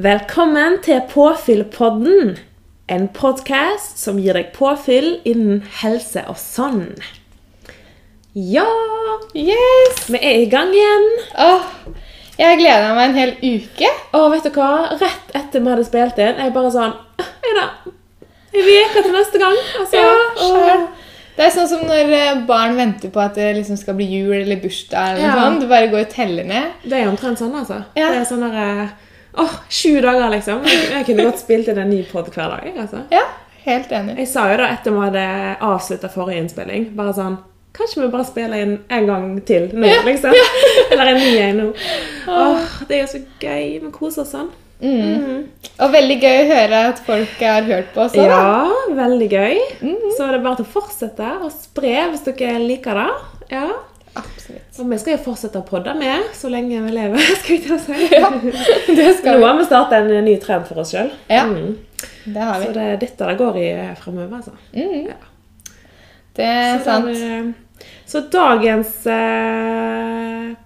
Velkommen til Påfyllpodden, en podkast som gir deg påfyll innen helse og sånn. Ja, Yes! vi er i gang igjen. Åh, jeg har gleda meg en hel uke. Og vet du hva? Rett etter vi hadde spilt inn, er jeg bare sånn Er det en uke til neste gang? Altså, Åh. og- Det er sånn som når eh, barn venter på at det liksom skal bli jul eller bursdag. eller noe Ja. sånt. Du bare går og teller ned. det er jo omtrent sånn, altså. Ja. Det er sånn der, eh, Åh, sju dager, liksom. Jeg, jeg kunne godt spilt inn en ny pod hver dag. jeg, altså. Ja, helt enig. Jeg sa jo da etter vi hadde avslutta forrige innspilling, bare sånn Kanskje vi bare spiller inn en gang til nå, liksom? Eller en ny en nå. Åh, det er jo så gøy. Vi koser oss sånn. Og veldig gøy å høre at folk har hørt på oss. også, da. Ja, veldig gøy. Mhm. Så det er bare til å fortsette å spre hvis dere liker det. Ja. Absolutt. Og vi skal jo fortsette å podde med så lenge vi lever. skal jeg til å si. Ja, Nå det skal vi. har vi startet en ny trend for oss sjøl. Ja, Mm. det har Så vi. det er dette det går i fremover, altså. Mm. Ja. Det er Så sant. den, eh, Så dagens eh,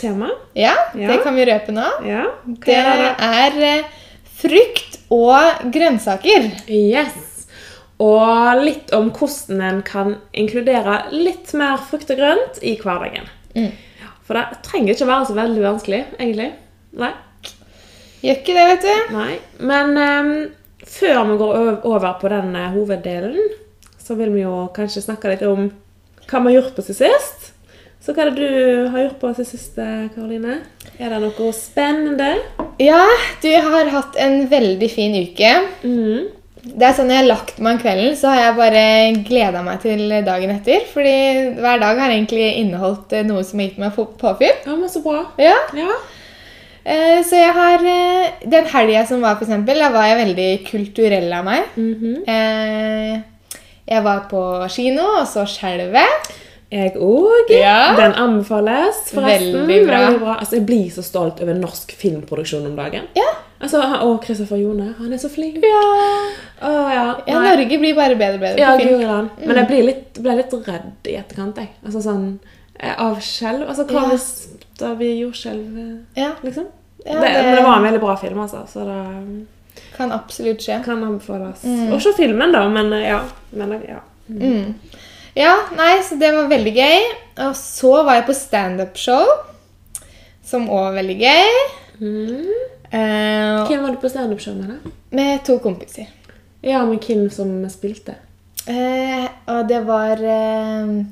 tema Ja, det Ja. kan vi røpe nå. Ja, hva Det er det? er eh, frukt og grønnsaker. Yes. Og litt om hvordan en kan inkludere litt mer frukt og grønt i hverdagen. Mm. For det trenger ikke være så veldig vanskelig, egentlig. Nei. Gjør ikke det, vet du. Nei. Men eh, før vi går ov- over på den eh, hoveddelen, så vil vi jo kanskje snakke litt om hva vi har gjort på siden sist. Så hva er det du har gjort på siden sist, eh, Karoline? Er det noe spennende? Ja, du har hatt en veldig fin uke. Mhm. Det er sånn Når jeg har lagt meg om kvelden, så har jeg bare gleda meg til dagen etter. Fordi hver dag har egentlig inneholdt eh, noe som har gitt meg få- påfyll. Ja, men så bra. Ja, Ja. eh, Så jeg har eh, Den helga som var, for eksempel, da var jeg veldig kulturell av meg. Eh, Jeg var på kino og så Skjelvet. Jeg òg. Ja. Den anbefales, forresten. Veldig bra. Altså, jeg blir så stolt over norsk filmproduksjon om dagen. Ja. Altså, han- Å, Kristoffer Jone. Han er så flink. Ja. Å, ja. ja, Nei. Norge blir bare bedre og bedre Ja, på film. Guri land. Men Mm. jeg blir litt, ble litt redd i etterkant, jeg. Altså sånn eh, Av skjelv. Altså, hva Ja. hvis det blir jordskjelv, eh, Ja, liksom? Ja, det, det- Men det var en veldig bra film, altså. Så det Kan absolutt skje. kan anbefales. Og se altså. filmen, da. Men eh, ja. Men, eh, ja. Mm. Ja, nei, så det var veldig gøy. Og så var jeg på standup-show, som òg var veldig gøy. Mm. Eh, Hvem var du på standup-show med? da? med to kompiser. Ja, med hvem som spilte? Eh, og det var eh...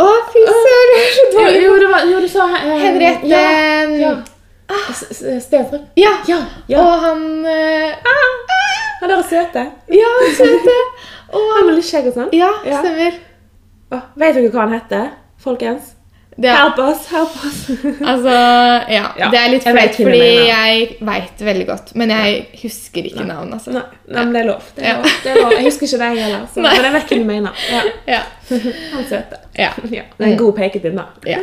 Å, fy søren! jeg er så Jo, dårlig. jo, det var, jo, du sa eh, Henriette Ja. ja, ja. S- s- Stenstrup. ja. Ja. ja. Ah. Og han eh, Han der er søte. Ja, søte! Og Han med litt skjegg og sånn. Ja, Ja. stemmer. Å, vet dere hva han heter? Folkens. Det Help us, help us. Altså, ja. Ja, Det er litt jeg vet flaut, hvem du fordi mener. jeg veit veldig godt. Men jeg husker ikke navn, altså. Nei, nei, men det er lov. Det er Ja. lov. Det er lov. Jeg husker ikke deg heller, så, Nei. men jeg vet hva du mener. Ja. Ja. Han søte. ja. Ja. Det er en god pekepinn, da. Ja.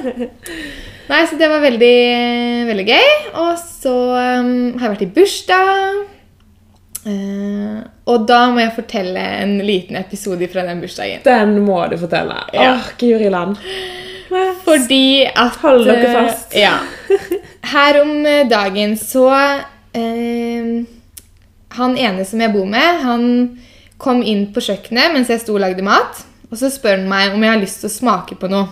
Nei, så det var veldig, veldig gøy. Og så um, har jeg vært i bursdag. Eh, og da må jeg fortelle en liten episode fra den bursdagen. Den må du fortelle. Ja. Åh, Guri land. Fordi at Hold dere eh, fast. ja. Her om dagen så eh, Han ene som jeg bor med, han kom inn på kjøkkenet mens jeg sto og lagde mat. Og så spør han meg om jeg har lyst til å smake på noe.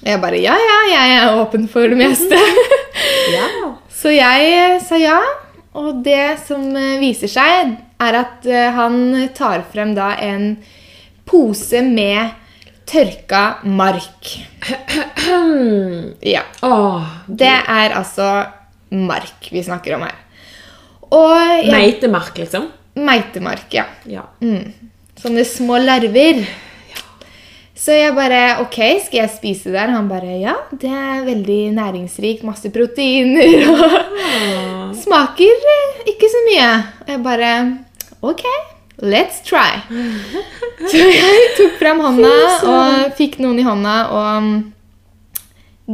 Og jeg bare ja, ja, jeg er åpen for det meste. Ja. Så jeg eh, sa ja, og det som eh, viser seg, er at eh, han tar frem da en pose med tørka mark. Um. Ja. Åh. Det er altså mark vi snakker om her. Og jeg, Meitemark, liksom. meitemark, ja. Ja. Mm. Sånne små larver. Så jeg bare OK, skal jeg spise det? her?» Han bare ja, det er veldig næringsrikt, masse proteiner og Smaker eh, ikke så mye. Og jeg bare OK, let's try. Så jeg tok fram hånda og fikk noen i hånda og mm,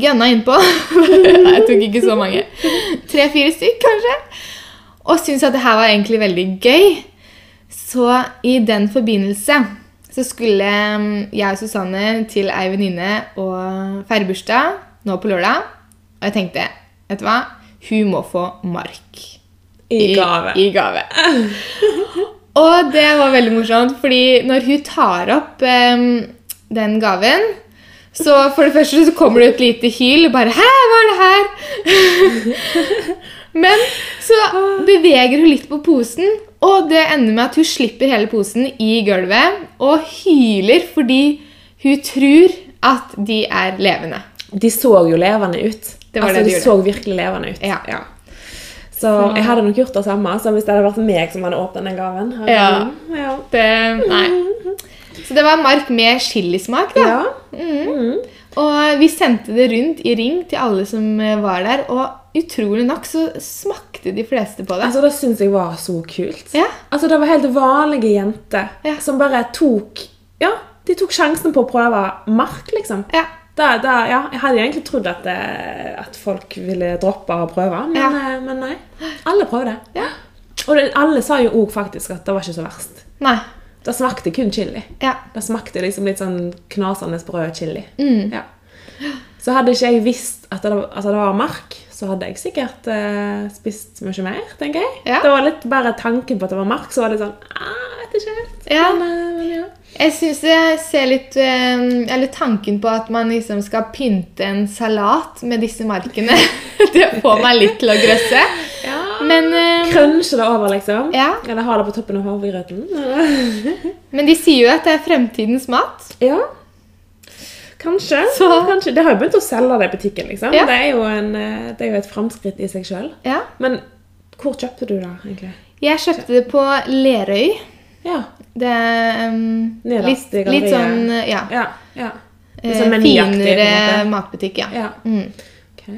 gønna innpå. Nei, jeg tok ikke så mange. Tre-fire stykk, kanskje. Og syntes at det her var egentlig veldig gøy. Så i den forbindelse så skulle mm, jeg og Susanne til ei venninne og feire bursdag nå på lørdag. Og jeg tenkte, vet du hva? Hun må få mark. I gave. I, gave. Og det var veldig morsomt, fordi når hun tar opp em, den gaven så for det første så kommer det et lite hyl. Bare 'Hæ, hva er det her?' Men så beveger hun litt på posen, og det ender med at hun slipper hele posen i gulvet og hyler fordi hun tror at de er levende. De så jo levende ut. Det var altså, det de de gjorde. så virkelig levende ut. Ja. Så jeg hadde nok gjort det samme så hvis det hadde vært meg som hadde åpnet den gaven. hadde Ja. jeg- ja. Det, nei. Så det var mark med chilismak, da. ja. Og vi sendte det rundt i ring til alle som eh, var der, og utrolig nok så smakte de fleste på det. Altså, det syns jeg var så kult. Ja. Altså, det var helt vanlige jenter Ja. som bare tok Ja, de tok sjansen på å prøve mark, liksom. Ja. Da, da, ja, jeg hadde egentlig trodd at, eh, at folk ville droppe å prøve, men, Ja. eh, men nei. Alle prøvde. Ja. Og det, alle sa jo òg faktisk at det var ikke så verst. Nei. Det smakte kun chili. Ja. Det smakte liksom litt sånn knasende sprø chili. Mm. Ja. Så hadde ikke jeg visst at det, altså det var mark, så hadde jeg sikkert eh, spist mye mer, tenker jeg. Ja. Det var litt bare tanken på at det var mark, så var det sånn ah, vet ikke helt. Ja. Men, eh, men ja. Jeg syns jeg ser litt eh, Eller tanken på at man liksom skal pynte en salat med disse markene. Det får meg litt til å grøsse. Men, eh, Krønsje det over, liksom. Ja. Eller ha det på toppen av havregrøten. men de sier jo at det er fremtidens mat. Ja. Kanskje. Så- Kanskje. Det har jo begynt å selge det i butikken, liksom. Ja. Det, er jo en, eh, det er jo et framskritt i seg sjøl. Ja. Men hvor kjøpte du det, egentlig? Jeg kjøpte det på Lerøy. Ja. Det er um, Nederst litt, i litt galleriet. sånn eh, ja, Ja. ja. Litt eh, sånn menyaktig, på en finere måte. matbutikk. Ja. Ja. Mm. Ok.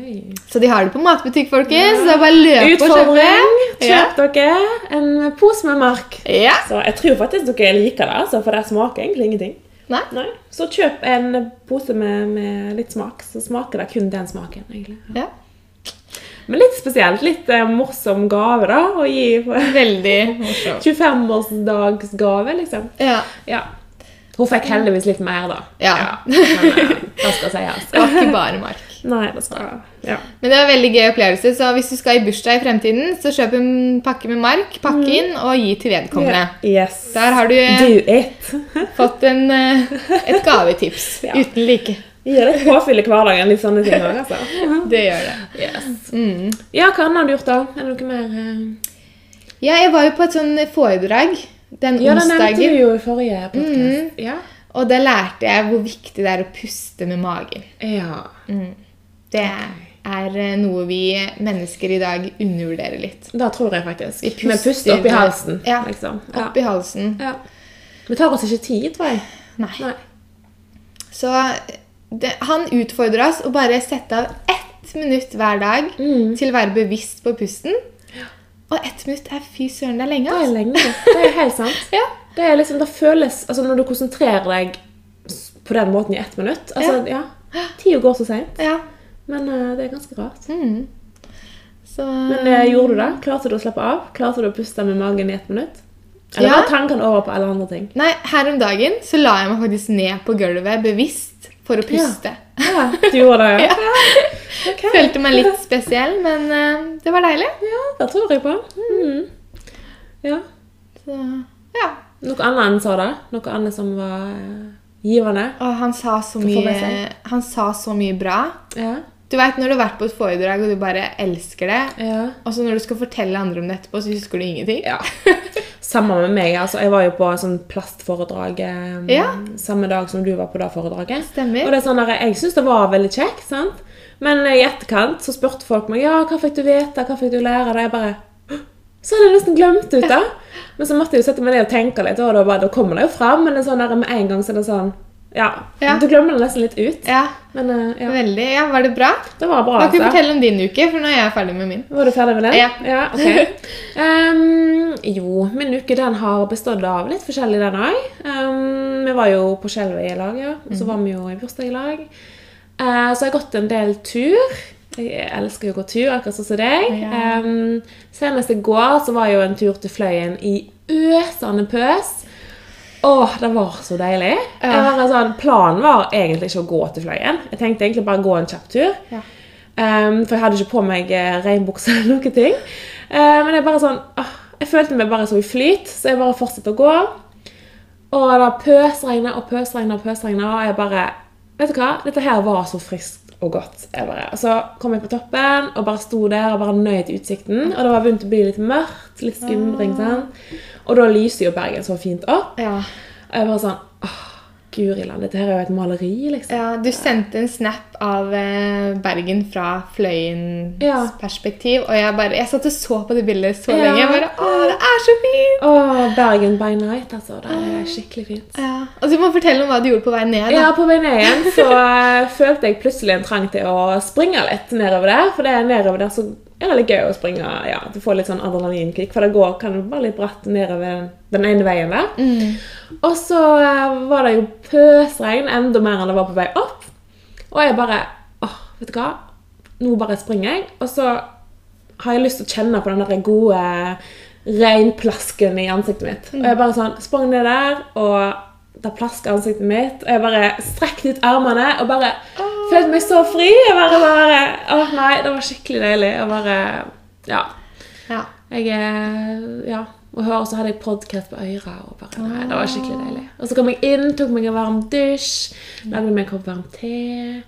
Så de har det på matbutikk, folkens. Det er bare å løpe og kjøpe. Utfordring! Ja. Kjøp dere en pose med mark. Ja. Så jeg tror faktisk dere liker det, altså, for det smaker egentlig ingenting. Nei. Nei. Så kjøp en pose med, med litt smak, så smaker det kun den smaken. egentlig. Ja. Ja. Men litt spesielt. Litt eh, morsom gave da, å gi på Veldig morsomt. 25-årsdagsgave, liksom. Ja. Ja. Hun fikk heldigvis litt mer, da. Ja. Men, eh, det skal sies. Det var ikke bare mark. Nei, det skal ja. Men det var en veldig gøy opplevelse, så hvis du skal i bursdag i fremtiden, så kjøp en pakke med mark, pakke inn og gi til vedkommende. Yes. Der har du eh, Do it. fått en, eh, et gavetips Ja. uten like. Gir deg påfyll i hverdagen, litt sånne ting òg, altså. Det gjør det. Mm. Ja, hva annet har du gjort, da? Er det noe mer eh? Ja, jeg var jo på et sånn foredrag Ja, det den nevnte onsdagen, du jo i forrige podkast. Mm, Ja. og da lærte jeg hvor viktig det er å puste med magen. ja. Det er eh, noe vi mennesker i dag undervurderer litt. Det tror jeg faktisk. Vi Vi puster puster, opp i halsen, Ja. liksom. Ja. Opp i halsen. ja. Vi tar oss ikke tid, tror jeg. Nei. Nei. Så eh, det, han utfordra oss å bare sette av ett minutt hver dag Mm. til å være bevisst på pusten. Og ett minutt er fy søren, det er lenge. Det er Altså. lenge. Det er helt sant. Ja. Det er liksom, det føles Altså, når du konsentrerer deg s- på den måten i ett minutt Altså, ja. Tida går så seint. Ja. Mm. Men eh, det er ganske rart. Så, Men eh, gjorde du det? Klarte du å slappe av? Klarte du å puste med magen i ett minutt? Eller Ja. var tankene over på alle andre ting? nei, her om dagen så la jeg meg faktisk ned på gulvet bevisst for å puste. Ja, du gjorde det, ja. Ok. Følte meg litt spesiell, men eh, det var deilig. Ja, det tror jeg på. Mm. Ja. Så, ja. Noe annet enn sa det? Noe annet som var eh, givende? Og han sa så får mye, jeg han sa så mye bra. Ja. Du veit når du har vært på et foredrag og du bare elsker det, ja. og så når du skal fortelle andre om det etterpå, så husker du ingenting. Ja. Samme med meg. altså Jeg var jo på sånn plastforedrag eh, Ja. samme dag som du var på det foredraget. Stemmer. Og det er sånn der, Jeg syns det var veldig kjekt, sant? men eh, i etterkant så spurte folk meg ja, hva fikk du vite, hva fikk du lære. Og jeg bare «Hå! Så hadde jeg nesten glemt ut det. Men så måtte jeg jo sette meg ned og tenke litt, og da, bare, da kommer det jo fram. Men det er sånn der, med en gang så er det sånn Ja. Ja. Du glemmer det nesten litt ut. Ja, Men eh, ja, veldig. Ja, Var det bra? det var bra. altså. Da kan du fortelle om din uke, for nå er jeg ferdig med min. Var du ferdig med den? Ja. ok. Ehm, jo, min uke den har bestått av litt forskjellig, den òg. vi var jo på skjelvet i lag, ja. Og så Mhm. var vi jo i bursdag i lag. Eh, så jeg har gått en del tur. Jeg elsker jo å gå tur, akkurat sånn som deg. Ja. Ehm, senest i går så var jo en tur til Fløyen i øsende pøs. Åh, det var så deilig. Ja. Jeg var sånn, planen var egentlig ikke å gå til Fløyen. Jeg tenkte egentlig bare gå en kjapp tur. Ja. Ehm, for jeg hadde ikke på meg eh, regnbukse eller noen ting. Eh, men jeg bare sånn ah, Jeg følte meg bare så i flyt, så jeg bare fortsatte å gå. Og det pøsregna og pøsregna og pøsregna, og jeg bare Vet du hva? Dette her var så friskt og godt. Jeg bare. Og så kom jeg på toppen og bare sto der og bare nøt utsikten. Og det var begynt å bli litt mørkt, litt skumring. Ah. sant? Og da lyser jo Bergen så fint opp. Ja. Og jeg bare sånn Åh, guri land, dette her er jo et maleri, liksom. Ja, du sendte en snap av eh, Bergen fra fløyens Ja. perspektiv, og jeg bare, jeg satt og så på det bildet så Ja. lenge, jeg bare, åh, det er så fint! Åh, Bergen by night, altså. Det er skikkelig fint. Ja. Og du må fortelle om hva du gjorde på vei ned, da. Ja, på vei ned igjen så eh, følte jeg plutselig en trang til å springe litt nedover der. For det er nedover der så er det litt gøy å springe. ja, Du får litt sånn adrenalinkick, for det går kan det være litt bratt nedover den ene veien der. Og så eh, var det jo pøsregn, enda mer enn det var på vei opp. Og jeg bare åh, vet du hva? Nå bare springer jeg. Og så har jeg lyst til å kjenne på den der gode reinplasken i ansiktet mitt. Og jeg bare sånn sprang ned der, og det plaska ansiktet mitt. Og jeg bare strekte ut armene og bare følte meg så fri. Jeg bare, bare Åh, nei, det var skikkelig deilig. Jeg bare Ja. Ja. Jeg eh, Ja. Og høre, så hadde jeg podcast på øra, og bare Nei, det var skikkelig Ah. deilig. Og så kom jeg inn, tok meg en varm dusj, lagde meg en kopp varm te.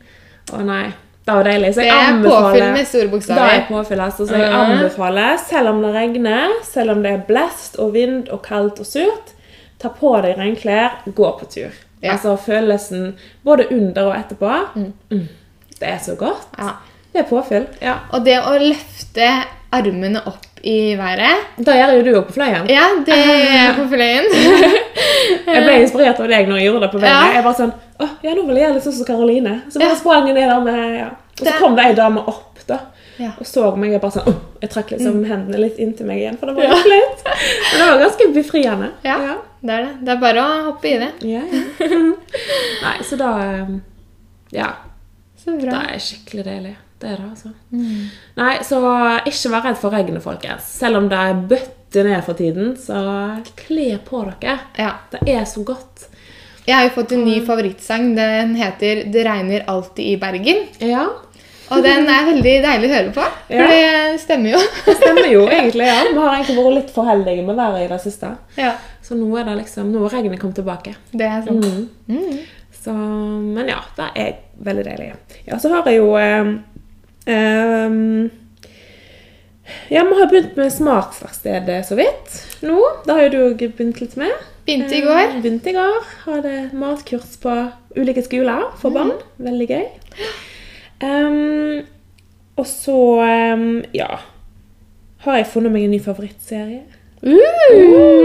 Å nei. Det var deilig. Så Det jeg er påfyll anbefaler med da store er jeg bokstaver. Ah. påfyll, altså. Så jeg anbefaler, selv om det regner, selv om det er blest og vind og kaldt og surt, ta på deg regnklær, gå på tur. Ja. Altså følelsen både under og etterpå. Mm. Det er så godt. Ja. Det er påfyll. Ja. Og det å løfte armene opp i været, Det gjør jo du òg på fløyen. ja, det gjør jeg på fløyen. Jeg ble inspirert av deg når jeg gjorde det på veien. Eh. Ja. Jeg bare sånn, åh, ja, nå vil jeg gjøre litt sånn som Karoline. Så bare Ja. sprang jeg ned der med, ja. Og så Det- kom det ei dame opp, da. Ja. Mm. Og så meg, jeg bare sånn, åh, jeg trakk liksom hendene litt inntil meg igjen, for det var litt flaut. Men det var ganske befriende. Ja, det er det. Det er bare å hoppe i det. Ja, ja. Nei, så da um, Ja. Så Det bra. er skikkelig deilig. Det er det, altså. Mm. Nei, så ikke vær redd for regnet, folkens. Selv om det er bøtter ned for tiden, så kle på dere. Ja. Det er så godt. Jeg har jo fått en ny favorittsang. Den heter «Det regner alltid i Bergen». Ja. Og den er veldig deilig å høre på, for Ja. det stemmer jo. Det stemmer jo egentlig. ja. Vi har egentlig vært litt for heldige med været i det siste. ja, Så nå er det liksom, nå har regnet kommet tilbake. det er sånn. sant. Mm. Så, men ja, det er veldig deilig. Ja, så har jeg jo eh, ehm, Ja, vi har begynt med smaksverkstedet så vidt nå. Det har jo du òg begynt litt med. Begynte i går. Eh, Begynte i går. Hadde matkurs på ulike skoler Mm. for barn. Veldig gøy. Ehm, og så ehm, ja har jeg funnet meg en ny favorittserie. Uh,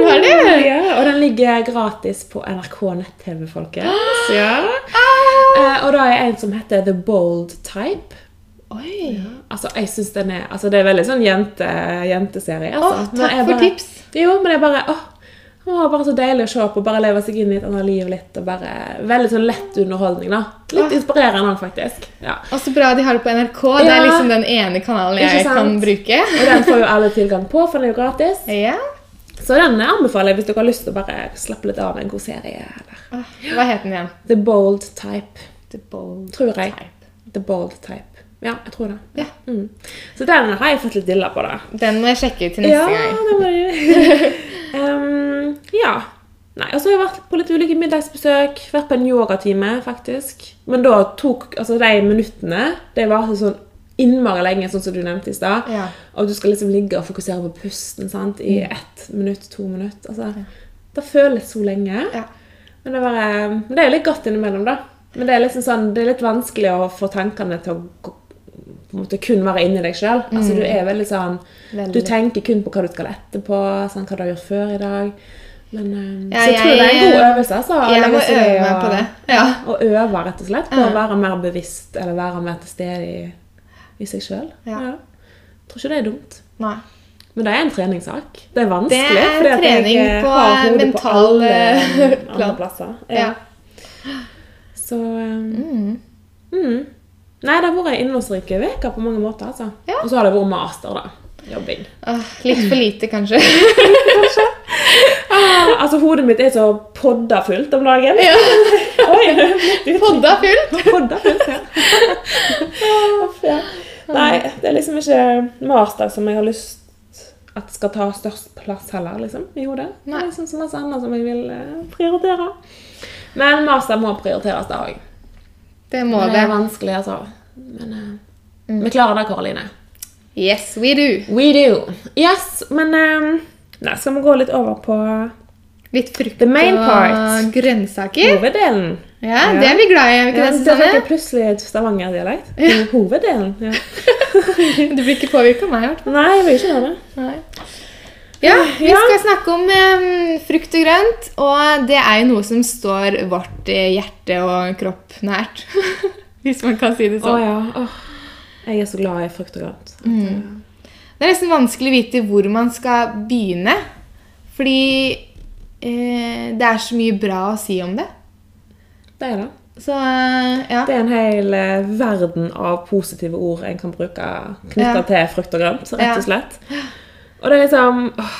har du? Ja, og den ligger gratis på NRK nett-TV, folkens. Ja. Ah! Eh, og da er en som heter The Bold Type. Oi. Altså, jeg synes den er, altså, Det er veldig sånn jente, jenteserie. Å, Altså. Men takk jeg for bare- tips. Jo, men det er bare åh, det var bare så deilig å se på. Bare leve seg inn i et annet liv litt. og bare, Veldig sånn lett underholdning. da. Litt Åh. inspirerende, faktisk. Ja. Og så bra de har det på NRK. Det Ja. er liksom den ene kanalen jeg Ikke sant? kan bruke. Og den får jo alle tilgang på, for den er jo gratis. Ja. Så den anbefaler jeg hvis dere har lyst til å bare slappe litt av med en god serie. Eller. Ah, Hva het den igjen? The Bold Type, The Bold tror jeg. Type. The Bold Type. Ja, jeg tror det. Ja. Mm. Så den har jeg fått litt dilla på, da. Den må jeg sjekke ut til neste gang. det må du. Ehm, ja. Nei, og så har jeg vært på litt ulike middagsbesøk. Vært på en yogatime, faktisk. Men da tok altså de minuttene Det varte sånn innmari lenge, sånn som du nevnte i stad. Ja. Mm. Og du skal liksom ligge og fokusere på pusten sant? i ett minutt, to minutt. Altså, Det føles så lenge. Ja. Men det, er bare, men det er jo litt godt innimellom, da. Men det er liksom sånn, det er litt vanskelig å få tankene til å gå- på en måte kun være inni deg sjøl. Altså, du er veldig sånn Du Mm. Veldig. tenker kun på hva du skal etterpå, sånn, hva du har gjort før i dag. Men, eh, Ja, så jeg tror det er en god jeg- eh, øvelse. Altså, å Jeg legge må seg øve ned meg og- på det. Ja. Og øve, rett og slett, på å Ja. være mer bevisst eller være mer til stede i, i seg sjøl. Ja. Tror ikke det er dumt. Nei. Men det er en treningssak. Det er vanskelig. Det er fordi at jeg trening ikke på har hodet mental, alle eh, andre plan. plasser. Ja. Så um, mm. Nei, det har vært en innholdsrik uke på mange måter, altså. Ja. Og så har det vært master, da. Jobbing. Ah, litt for lite, kanskje. Ah, altså, hodet mitt er så podda fullt om dagen. Ja. Oi, litt ut. Podda fullt. Podda fullt, ja. Uff, ja. Nei, det er liksom ikke marsdag som jeg har lyst at skal ta størst plass heller, liksom, i hodet. Det Nei. er liksom så masse annet som jeg vil eh, prioritere. Men master må prioriteres da òg. Det må Det det. Mm. er vanskelig, altså. Men eh, vi klarer det, Karoline. Yes, we do. We do. Yes, men eh, Nei, skal vi gå litt over på Litt frukt The main part. og grønnsaker. hoveddelen? Ja, Ja. det er vi glad i. Er vi ikke Ja, det, det fikk Susanne? jeg plutselig et Stavanger-dialekt. Hoveddelen. Ja. Du blir ikke påvirka av meg, i hvert fall. Nei, jeg vil ikke gjøre det. Nei. Ja, vi Ja. skal snakke om eh, frukt og grønt, og det er jo noe som står vårt eh, hjerte og kropp nært. Hvis man kan si det Å sånn. ja. Åh. Jeg er så glad i frukt og grønt. Mm. Det er nesten vanskelig å vite hvor man skal begynne, fordi eh, det er så mye bra å si om det. Det er det. Så eh, ja. Det er en hel eh, verden av positive ord en kan bruke knytta Ja. til frukt og grønt, rett Ja. og slett. Og det er liksom åh,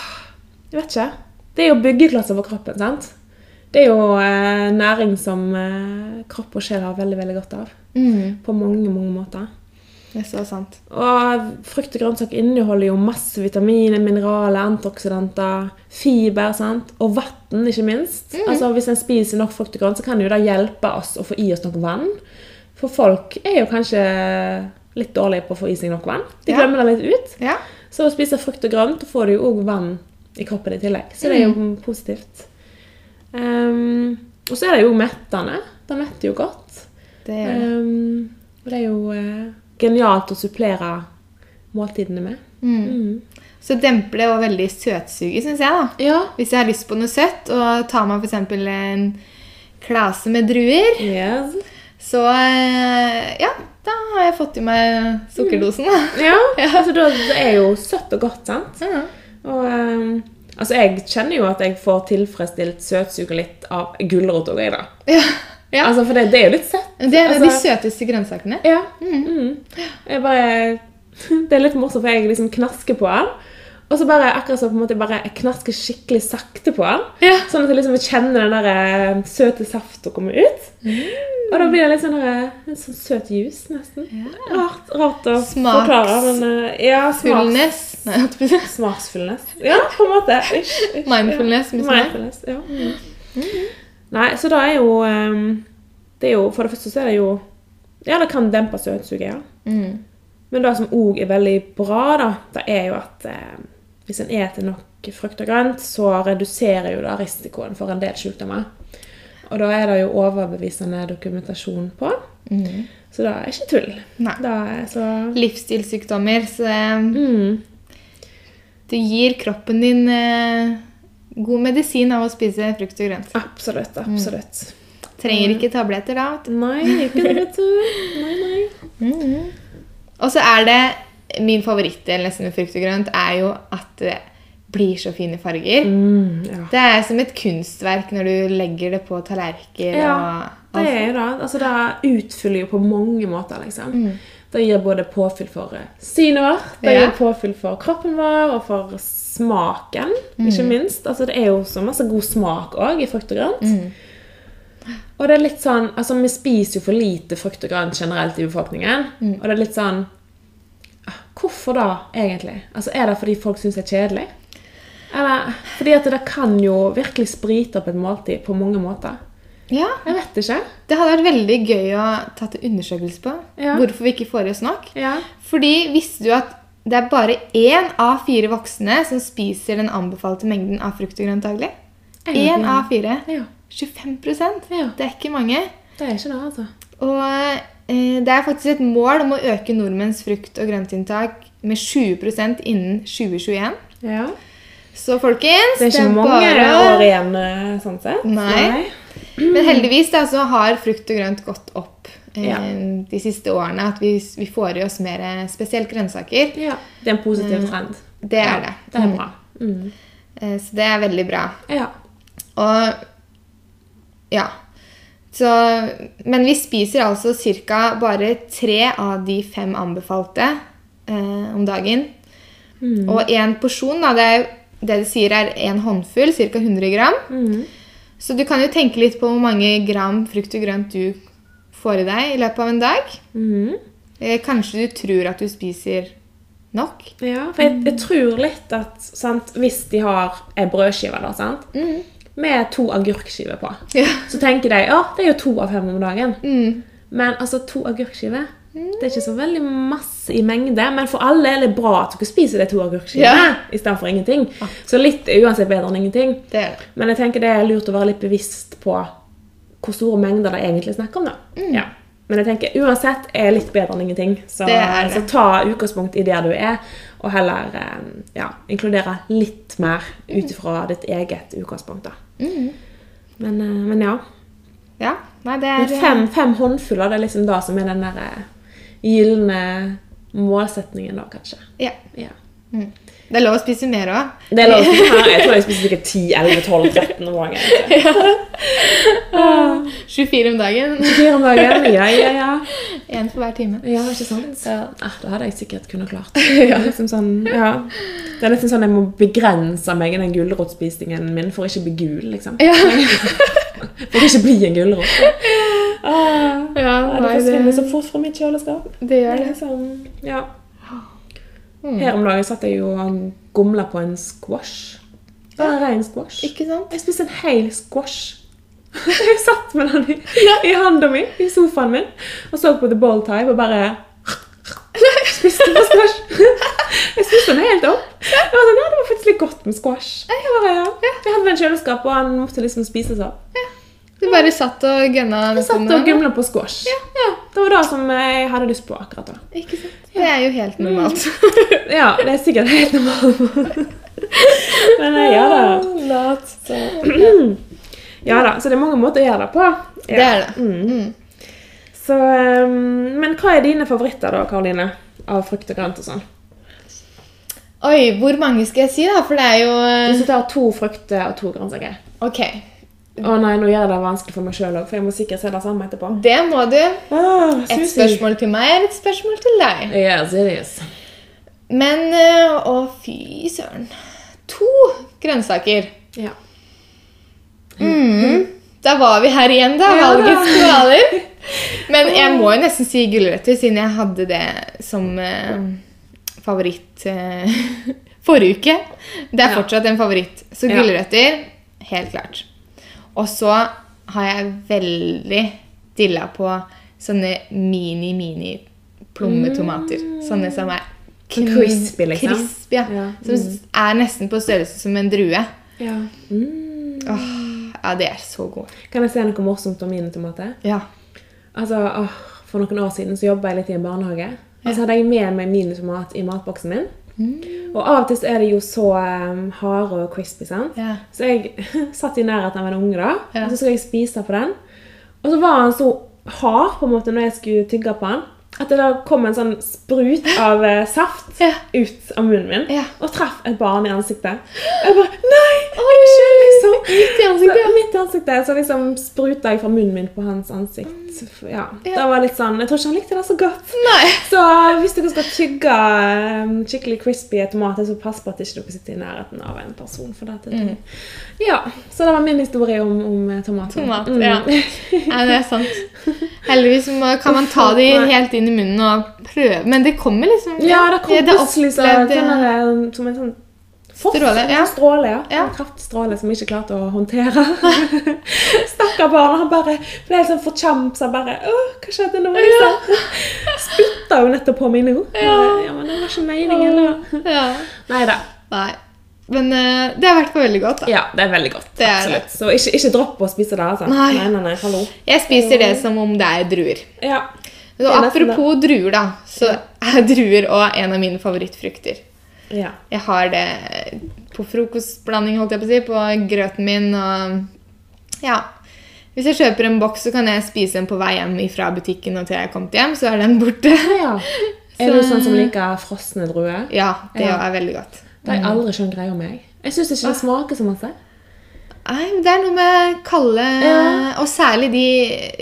Jeg vet ikke. Det er jo byggeklosser for kroppen, sant? Det er jo eh, næring som eh, kropp og sjel har veldig, veldig godt av. Mm, På mange, mange måter. det er så sant. Og frukt og grønnsak inneholder jo masse vitaminer, mineraler, antioksidanter, fiber sant? og vann, ikke minst. Altså Hvis en spiser nok frukt og grønt, så kan jo det hjelpe oss å få i oss nok vann. For folk er jo kanskje litt dårlige på å få i seg nok vann. De Ja. glemmer det litt ut. Ja. Så å spise frukt og grønt, da får du jo òg vann i kroppen i tillegg. Så det er jo positivt. Ehm, og så er det jo mettende. Det metter jo godt. Det gjør det. Um, og det er jo eh, genialt å supplere måltidene med. Mm. Så demper det også veldig søtsuget, syns jeg. da. Ja. Hvis jeg har lyst på noe søtt, og tar meg f.eks. en klase med druer, Yes. så eh, ja, da har jeg fått i meg sukkerdosen. da. Ja, altså da, det er jo søtt og godt, sant? Mm. Ja. Og um, altså jeg kjenner jo at jeg får tilfredsstilt søtsuget litt av gulrot og greier da. Ja. ja. Altså for det, det er jo litt søtt. Det er de altså- søteste grønnsakene. Ja. Mm. Jeg bare, det er litt morsomt, for jeg liksom knasker på den. Og så bare, akkurat så på en måte, jeg bare jeg knasker skikkelig sakte på den. Ja. Sånn at jeg liksom kjenner den der eh, søte saften komme ut. Og da blir det litt sånn der, eh, en sånn søt juice, nesten. Rart, rart å Smaks- forklare, men eh, ja, smaks, Fullness. Nei, jeg holdt på å si. smaksfullness. Ja, på en måte. Ish, ish, Mindfulness. ja. liksom. Med smak. Mindfulness, ja. Mm. Nei, så da er jo, eh, det er jo For det første så er det jo Ja, det kan dempe søtsuget, ja. Mm. Men det som òg er veldig bra, da, det er jo at eh, hvis en eter nok frukt og grønt, så reduserer jo da risikoen for en del sykdommer. Og da er det jo overbevisende dokumentasjon på, Mm. så det er ikke tull. Nei. Da er så Livsstilssykdommer. Så eh, mm, du gir kroppen din eh, god medisin av å spise frukt og grønt. Absolutt, absolutt. Mm. Trenger ikke tabletter da. vet du. Nei, ikke det, vet du. Nei, nei. Og så er det min favorittdel nesten med frukt og grønt er jo at det blir så fine farger. Mm, ja. Det er som et kunstverk når du legger det på tallerkener Ja, og Det er jo det. Altså, det utfyller jo på mange måter, liksom. Det gir både påfyll for eh, synet vårt, det Ja. gir påfyll for kroppen vår og for smaken, ikke minst. Altså, det er jo så masse god smak òg i frukt og grønt. Og det er litt sånn Altså, vi spiser jo for lite frukt og grønt generelt i befolkningen, og det er litt sånn ah, Hvorfor da, egentlig? Altså, Er det fordi folk syns det er kjedelig? Eller, fordi at det kan jo virkelig sprite opp et måltid på mange måter. Ja, Jeg vet ikke. Det hadde vært veldig gøy å ta til undersøkelse på Ja. hvorfor vi ikke får i oss nok. Ja. Fordi visste du at det er bare én av fire voksne som spiser den anbefalte mengden av frukt og grønt daglig? En av Én fire. av fire. ja. 25 Ja. Det er ikke mange. Det er ikke det, altså. Og eh, det er faktisk et mål om å øke nordmenns frukt- og grøntinntak med 20 innen 2021. Ja. Så folkens Det er ikke mange år igjen, eh, sånn sett. Nei. Men heldigvis da, så har frukt og grønt gått opp eh, Ja. de siste årene. At vi, vi får i oss mer eh, spesielt grønnsaker. Ja. Det er en positiv trend. Det er det. Ja, det er bra. Mm. Eh, så det er veldig bra. Ja. Og ja. Så, men vi spiser altså ca. bare tre av de fem anbefalte eh, om dagen. Mm. Og én porsjon, da, det, er, jo- det de sier er en håndfull, ca. 100 gram. Mm. Så du kan jo tenke litt på hvor mange gram frukt og grønt du får i deg i løpet av en dag. Mhm. Eh, Kanskje du tror at du spiser nok? Ja, for jeg, jeg tror litt at sant, hvis de har en brødskive da, sant, med to agurkskiver på, Ja. så tenker de ja, det er jo to av fem om dagen. Mm. Men altså, to agurkskiver det er ikke så veldig masse i mengde, men for alle er det bra at dere spiser de to agurkskivene Ja. Ah. i stedet for ingenting. Så litt er uansett bedre enn ingenting. Det er det. Men jeg tenker det er lurt å være litt bevisst på hvor store mengder det egentlig er snakk om. da. Mm. Ja. Men jeg tenker uansett er litt bedre enn ingenting. Så, Det er det. Eh, så ta utgangspunkt i der du er, og heller eh, ja, inkludere litt mer Mm. ut ifra ditt eget utgangspunkt. da. Men, eh, men ja. Ja, nei, det Men er Fem, fem håndfuller det er liksom da som er den der eh, gylne målsetningen, da, kanskje. Ja. Ja. Det er lov å spise mer òg. Det er lov å spise mer. Jeg tror jeg spiser sikkert 10, 11, 12, 13 om dagen. egentlig. 24 om dagen. Fire om dagen, ja, ja, ja. Én for hver time. Ja, ikke sant? Ja. Ah, det hadde jeg sikkert kunnet klart. Det er liksom sånn, ja. Det er liksom sånn jeg må begrense meg i den gulrotspisingen min for å ikke bli gul, liksom. Ja. For å ikke bli en gulrot. Ah, Ja, ja, det nei, forsvinner så det, fort fra mitt kjøleskap. det Det gjør er det. liksom, ja. Her om dagen satt jeg jo og gomla på en squash. Bare ren squash. Ikke sant? Jeg spiste en hel squash. Jeg satt med den i, i handa mi i sofaen min og så på The Bowl Type og bare Spiste en squash. Jeg spiste den helt opp. Jeg var sånn, ja, Det var faktisk litt godt med squash. Jeg, bare, ja. jeg hadde den i kjøleskapet, og han måtte liksom spises opp. Du bare satt og gønna Jeg satt og gumla på squash. Sånn Ja. Ja, det var det som jeg hadde lyst på akkurat da. Ikke sant? Mm. Det er jo helt normalt. Ja, det er sikkert helt normalt. Men eh, jeg gjør det. Lat. Ja da, så det er mange måter å gjøre det på. Ja. Det er det. Mm. Så, ehm, men hva er dine favoritter da, Karoline? Av frukt og grønt og sånn? Oi, hvor mange skal jeg si, da? For det er jo eh, Hvis jeg tar to frukter og to grønnsaker Ok, Å nei, nå gjør jeg det vanskelig for meg sjøl òg, for jeg må sikkert se det samme etterpå. det må du. Ah, Et spørsmål til meg er et spørsmål til deg. Yes, it is. Men eh, Å, fy søren. To grønnsaker. Ja. Mm. Da var vi her igjen, da. Ja da. Valgets kvaler. Men jeg må jo nesten si gulrøtter, siden jeg hadde det som eh, favoritt eh, forrige uke. Det er Ja. fortsatt en favoritt. Så Ja. gulrøtter, helt klart. Og så har jeg veldig dilla på sånne mini-mini-plommetomater. Sånne som er Sånn kn- Mm. crispy, liksom. Crisp, ja. Ja. Mm. Som s- er nesten på størrelse som en drue. ja. Mm. Åh, ja, det er så gode. Kan jeg si noe morsomt om eh? mine tomater? Ja. Altså, åh, For noen år siden så jobba jeg litt i en barnehage. Og så hadde jeg med meg minitomat i matboksen min. Mm. Og av og til så er de jo så um, harde og crispy. sant? Ja. Så jeg satt i nærheten av en unge, da, Ja. og så skulle jeg spise på den. Og så var han så hard på en måte når jeg skulle tygge på han, at det da kom en sånn sprut av eh, saft Ja. ut av munnen min Ja. og traff et barn i ansiktet. Og jeg bare Nei! Unnskyld! Liksom. Midt i ansiktet? Så, midt i ansiktet. Så liksom spruta jeg fra munnen min på hans ansikt. Ja. Ja. Det var litt sånn Jeg tror ikke han likte det så godt. Nei. Så hvis dere skal tygge eh, skikkelig crispy tomater, så pass på at ikke dere ikke sitter i nærheten av en person. For det, Mm. at det- Ja, Så det var min historie om, om eh, tomater. Tomat, ja. Nei, det er sant. Heldigvis må, kan man ta de Nei. helt inn i munnen og prøve. Men det kommer liksom Ja, det kom Ja, plutselig så, opplevde jeg. sånn der, som en sånn force, Stråle, en ja. stråle, ja. Ja. En kraftstråle som jeg ikke klarte å håndtere. Stakkar barn. Han bare ble helt sånn forkjamsa. Bare Åh, hva skjedde nå? Liksom. Spytta jo nettopp på meg nå. Ja. ja, men det var ikke meningen. da. Ja. Nei da. Nei. Men eh, det har vært veldig godt, da. Ja, det er veldig godt. Det er absolutt. Så ikke, ikke dropp å spise det. altså. Nei. nei, nei, nei hallo. Jeg spiser det som om det er druer. Ja. Og er nesten apropos druer, da, så er druer òg en av mine favorittfrukter. ja. Jeg har det på frokostblanding, holdt jeg på å si, på grøten min og Ja. Hvis jeg kjøper en boks, så kan jeg spise en på vei hjem fra butikken og til jeg har kommet hjem, så er den borte. ja. Er du sånn som liker frosne druer? Ja, det Ja. er veldig godt. Det har jeg aldri skjønt greia med. jeg. Jeg syns ikke det smaker så masse. Nei, men Det er noe med kalde Ja. Og særlig de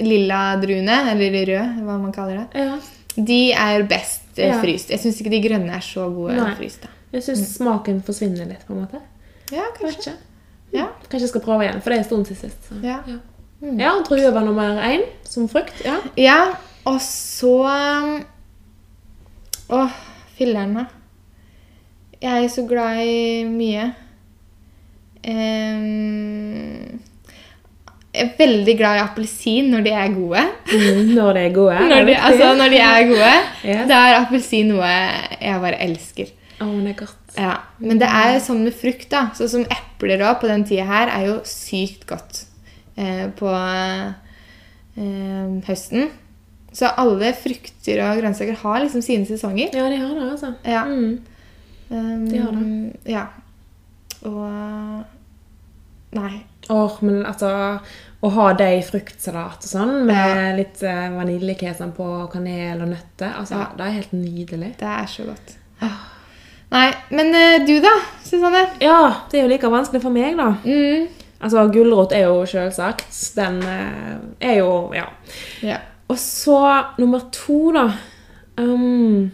lilla druene, eller de røde, hva man kaller det. Ja. De er best eh, Ja. fryst. Jeg syns ikke de grønne er så gode Nei. fryst. da. Jeg syns smaken forsvinner litt, på en måte. Ja, Jeg vet kanskje. ikke. Ja. Kanskje jeg skal prøve igjen, for det er en stund til sist. Så. Ja. Ja. Mm. ja, drue var nummer én som frukt. Ja. ja. Og så um, Åh, filler'n, da. Jeg er så glad i mye. Ehm, jeg er veldig glad i appelsin når de er gode. Mm, når de er gode. det Når er de, viktig. altså, når de er gode. Yes. Da er appelsin noe jeg bare elsker. Å, men det er godt. Ja, Men det er sånn med frukt, da. Sånn som epler òg på den tida her er jo sykt godt eh, på eh, høsten. Så alle frukter og grønnsaker har liksom sine sesonger. Ja, de har det, altså. Ja. Mm. Um, De har Ja. Og Nei. Åh, men altså Å ha det i fruktsalat og sånn, med Ja. litt eh, vaniljekesam på, og kanel og nøtter altså, Ja. Det er helt nydelig. Det er så godt. Ah. Nei, men eh, du da, Susanne? Ja, det er jo like vanskelig for meg, da. Mm. Altså, Gulrot er jo selvsagt. Den eh, er jo Ja. Ja. Og så nummer to, da. Ehm,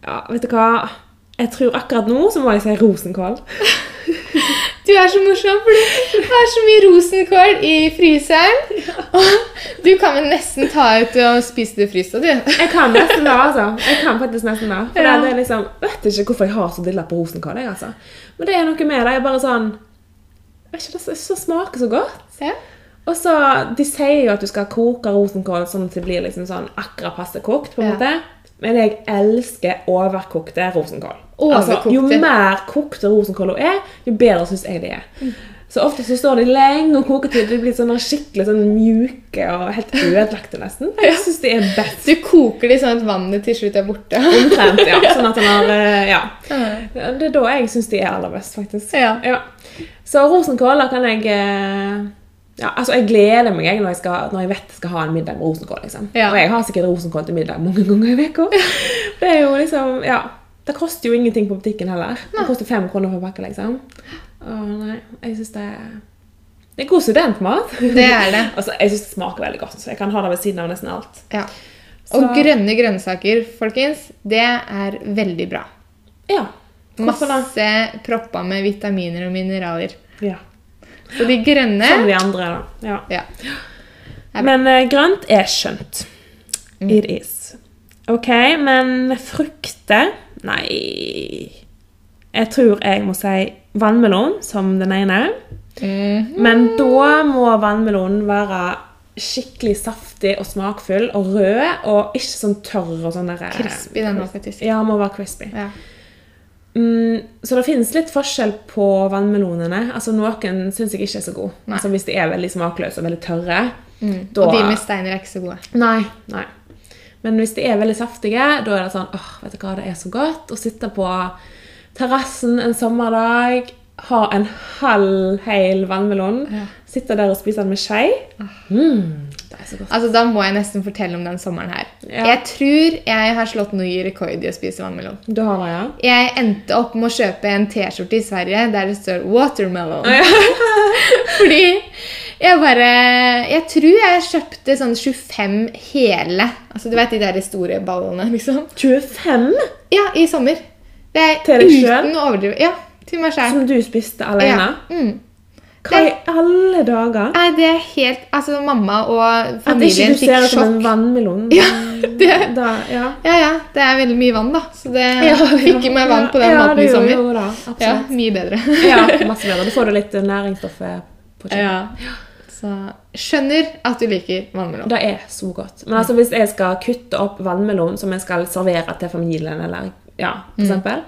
ja, vet du hva? Jeg tror akkurat nå så må jeg si rosenkål. Du er så morsom, for du har så mye rosenkål i fryseren. Og du kan vel nesten ta ut og spise det frysta, du. Jeg kan nesten det, altså. Jeg kan faktisk nesten det. For Ja. det er liksom, Vet ikke hvorfor jeg har så dilla på rosenkål. Jeg, altså. Men det er noe med det. Jeg er bare sånn vet ikke, Det så- så smaker så godt. Ja. Og så, De sier jo at du skal koke rosenkål sånn at det blir liksom sånn akkurat passe kokt. på en Ja. måte. Men jeg elsker overkokte rosenkål. Altså, Overkokte? jo mer kokte rosenkål hun er, jo bedre syns jeg de er. Mm. Så ofte så står de lenge og koker til de blir sånn skikkelig sånn mjuke og helt ødelagte, nesten. Jeg syns de er best Du koker det sånn at vannet til slutt er borte. omtrent. ja. Sånn at den har eh, Ja. Ja. Det er da jeg syns de er aller best, faktisk. Ja. Så rosenkål, da kan jeg eh, ja, altså Jeg gleder meg jeg, når, jeg skal, når jeg vet jeg skal ha en middag med rosenkål. liksom. Ja. Og jeg har sikkert rosenkål til middag mange ganger i uka. Det er jo liksom, ja, det koster jo ingenting på butikken heller. Det koster fem kroner for en pakke, liksom. Å nei, jeg syns det er Det er god studentmat. Det er det. altså, Jeg syns det smaker veldig godt. Jeg kan ha det ved siden av nesten alt. Ja. Og Så- grønne grønnsaker, folkens, det er veldig bra. Ja. Hvorfor det? Masse proppa med vitaminer og mineraler. Ja. Så de grønne Som de andre, da. Sånn, Ja. ja. Er bra. Mm. Men eh, grønt er skjønt. It is. OK, men frukter Nei Jeg tror jeg må si vannmelon som den ene. mm. Men da må vannmelonen være skikkelig saftig og smakfull og rød, og ikke sånn tørr og sånn derre Crispy, den var faktisk. Ja, må være crispy. Ja. Mm, så det finnes litt forskjell på vannmelonene. Altså Noen syns jeg ikke er så gode. Nei. Altså Hvis de er veldig smakløse og veldig tørre. Mm. Da- Og de med steiner er ikke så gode. Nei. nei. Men hvis de er veldig saftige, da er det sånn åh, vet du hva, det er så godt å sitte på terrassen en sommerdag, ha en halv hel vannmelon, Ja. sitte der og spise den med skje. Mm, det er så godt. Altså, Da må jeg nesten fortelle om den sommeren her. Ja. Jeg tror jeg har slått ny rekord i å spise vannmelon. Du har det, ja? Jeg endte opp med å kjøpe en T-skjorte i Sverige der det står 'watermelon'. Fordi jeg bare Jeg tror jeg kjøpte sånn 25 hele. Altså, Du vet de der store ballene, liksom? 25 Ja, i sommer. Det er Til deg selv? uten å overdrive. Ja, til meg sjæl. som du spiste Ja. alene? Mm. Hva i alle dager? Nei, det er helt Altså, mamma og At ikke familien du ser fikk det som en sjokk. vannmelon? Ja, det Da, ja. Ja, ja. Det er veldig mye vann, da. Så det fikk i meg vann på den ja, måten Ja, i det sommer. gjorde jo da, Ja, absolutt. Mye bedre. Ja. masse bedre. Da får du litt eh, næringsstoff eh, på kjøttet. Så skjønner at du liker vannmelon. Det er så godt. Men altså, hvis jeg skal kutte opp vannmelon som jeg skal servere til familien, eller ja, Mm. for eksempel,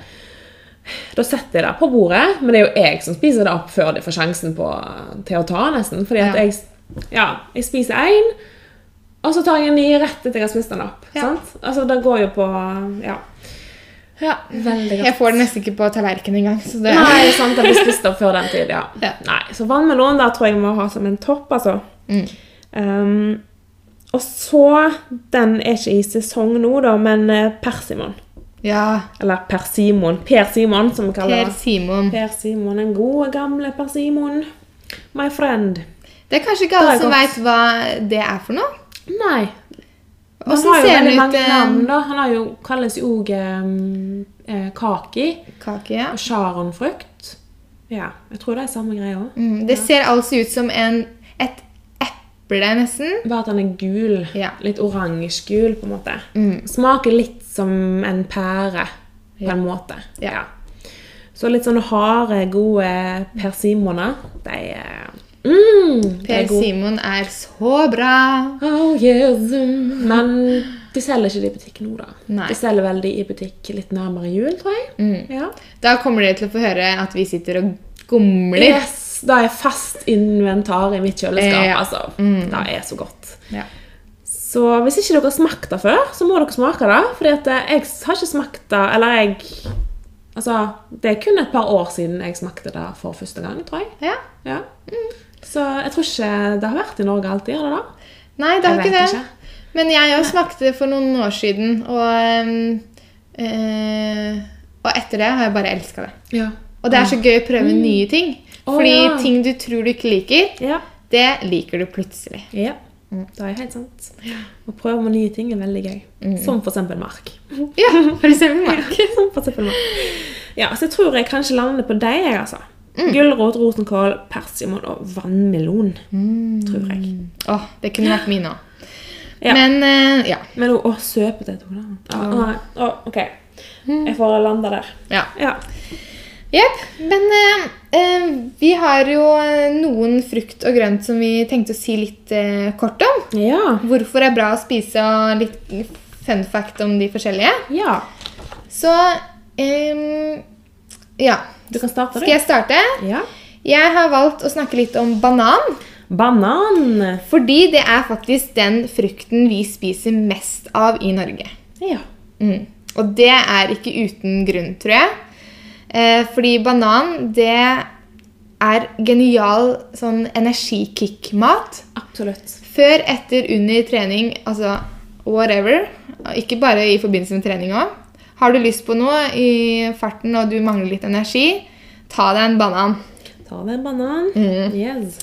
da setter jeg det på bordet, men det er jo jeg som spiser det opp før de får sjansen på, til å ta, nesten. Fordi at Ja. jeg, ja, jeg spiser én, og så tar jeg en ny rett etter jeg har spist den opp. Ja. Sant? Altså, det går jo på Ja. Ja. Veldig Jeg får det nesten ikke på tallerkenen engang. Så det Nei, sant, det blir spist opp før den tid, ja. Ja. Nei, så vannmelon der tror jeg må ha som en topp, altså. Mm. Um, og så, den er ikke i sesong nå da, men eh, persimon. Ja. Eller persimon, per Simon som vi kaller Per det. Simon. Per Simon, den gode gamle persimon. My friend. Det er kanskje ikke Det alle er som godt. veit hva det er for noe. Nei. Han Åssen har jo ser veldig den ut? mange navn eh, da. Han har jo, kalles jo også eh, eh, kaki Kake, ja. og sjaronfrukt. Ja, jeg tror det er samme greie også. Mm, det ser altså ut som en, et eple, nesten. Bare at den er gul. Ja. Mm. Litt oransje-gul, på en måte. Smaker litt som en pære, på en måte. Ja. Så litt sånne harde, gode persimoner, de er mm, de er Per gode. Simon er så bra! Oh, yes. mm. Men de selger ikke det i butikk nå, da. Nei. Mm. De selger vel de i butikk litt nærmere jul, tror jeg. Ja. Da kommer dere til å få høre at vi sitter og gomler. Yes, det er fast inventar i mitt kjøleskap, Eh, ja. altså. Det er så godt. Ja. Så hvis ikke dere har smakt det før, så må dere smake det. Fordi at eh, jeg har ikke smakt det Eller jeg Altså, det er kun et par år siden jeg smakte det for første gang, tror jeg. Ja. Ja. Så jeg tror ikke det har vært i Norge alltid, har det det? Nei, det har Jeg ikke vet det. Men jeg òg smakte det for noen år siden, og, ehm, eh, og etter det har jeg bare elska det. Ja. Og det er så gøy å prøve nye ting. Ah. Mm. Å, Fordi ja. ting du tror du ikke liker, Ja. det liker du plutselig. ja. Det er helt sant. Å prøve med nye ting er veldig gøy. Som for eksempel mark. Ja, for eksempel mark. Som for eksempel mark. Ja, så jeg tror jeg kanskje lander på deg, jeg, altså. Mm. Gulrot, rotenkål, persimon og vannmelon. Mm. Tror jeg. Åh, det kunne vært min òg. Ja. Men eh, ja. Men å, å søpe det tok da. Nei, å, ok. Mm. Jeg får lande der. ja. Ja. Jepp. Men eh, eh, vi har jo eh, noen frukt og grønt som vi tenkte å si litt eh, kort om. Ja. Hvorfor det er bra å spise, og litt fun fact om de forskjellige. Ja. Så ehm, ja. Du kan starte, du. Skal jeg starte? Ja. Jeg har valgt å snakke litt om banan. Banan. Fordi det er faktisk den frukten vi spiser mest av i Norge. Ja. Mm. Og det er ikke uten grunn, tror jeg. Eh, fordi banan, det er genial sånn energikick-mat. Absolutt. Før, etter, under trening, altså whatever. Ikke bare i forbindelse med trening òg. Har du lyst på noe i farten og du mangler litt energi, ta deg en banan. Ta deg en banan. Mm. Yes.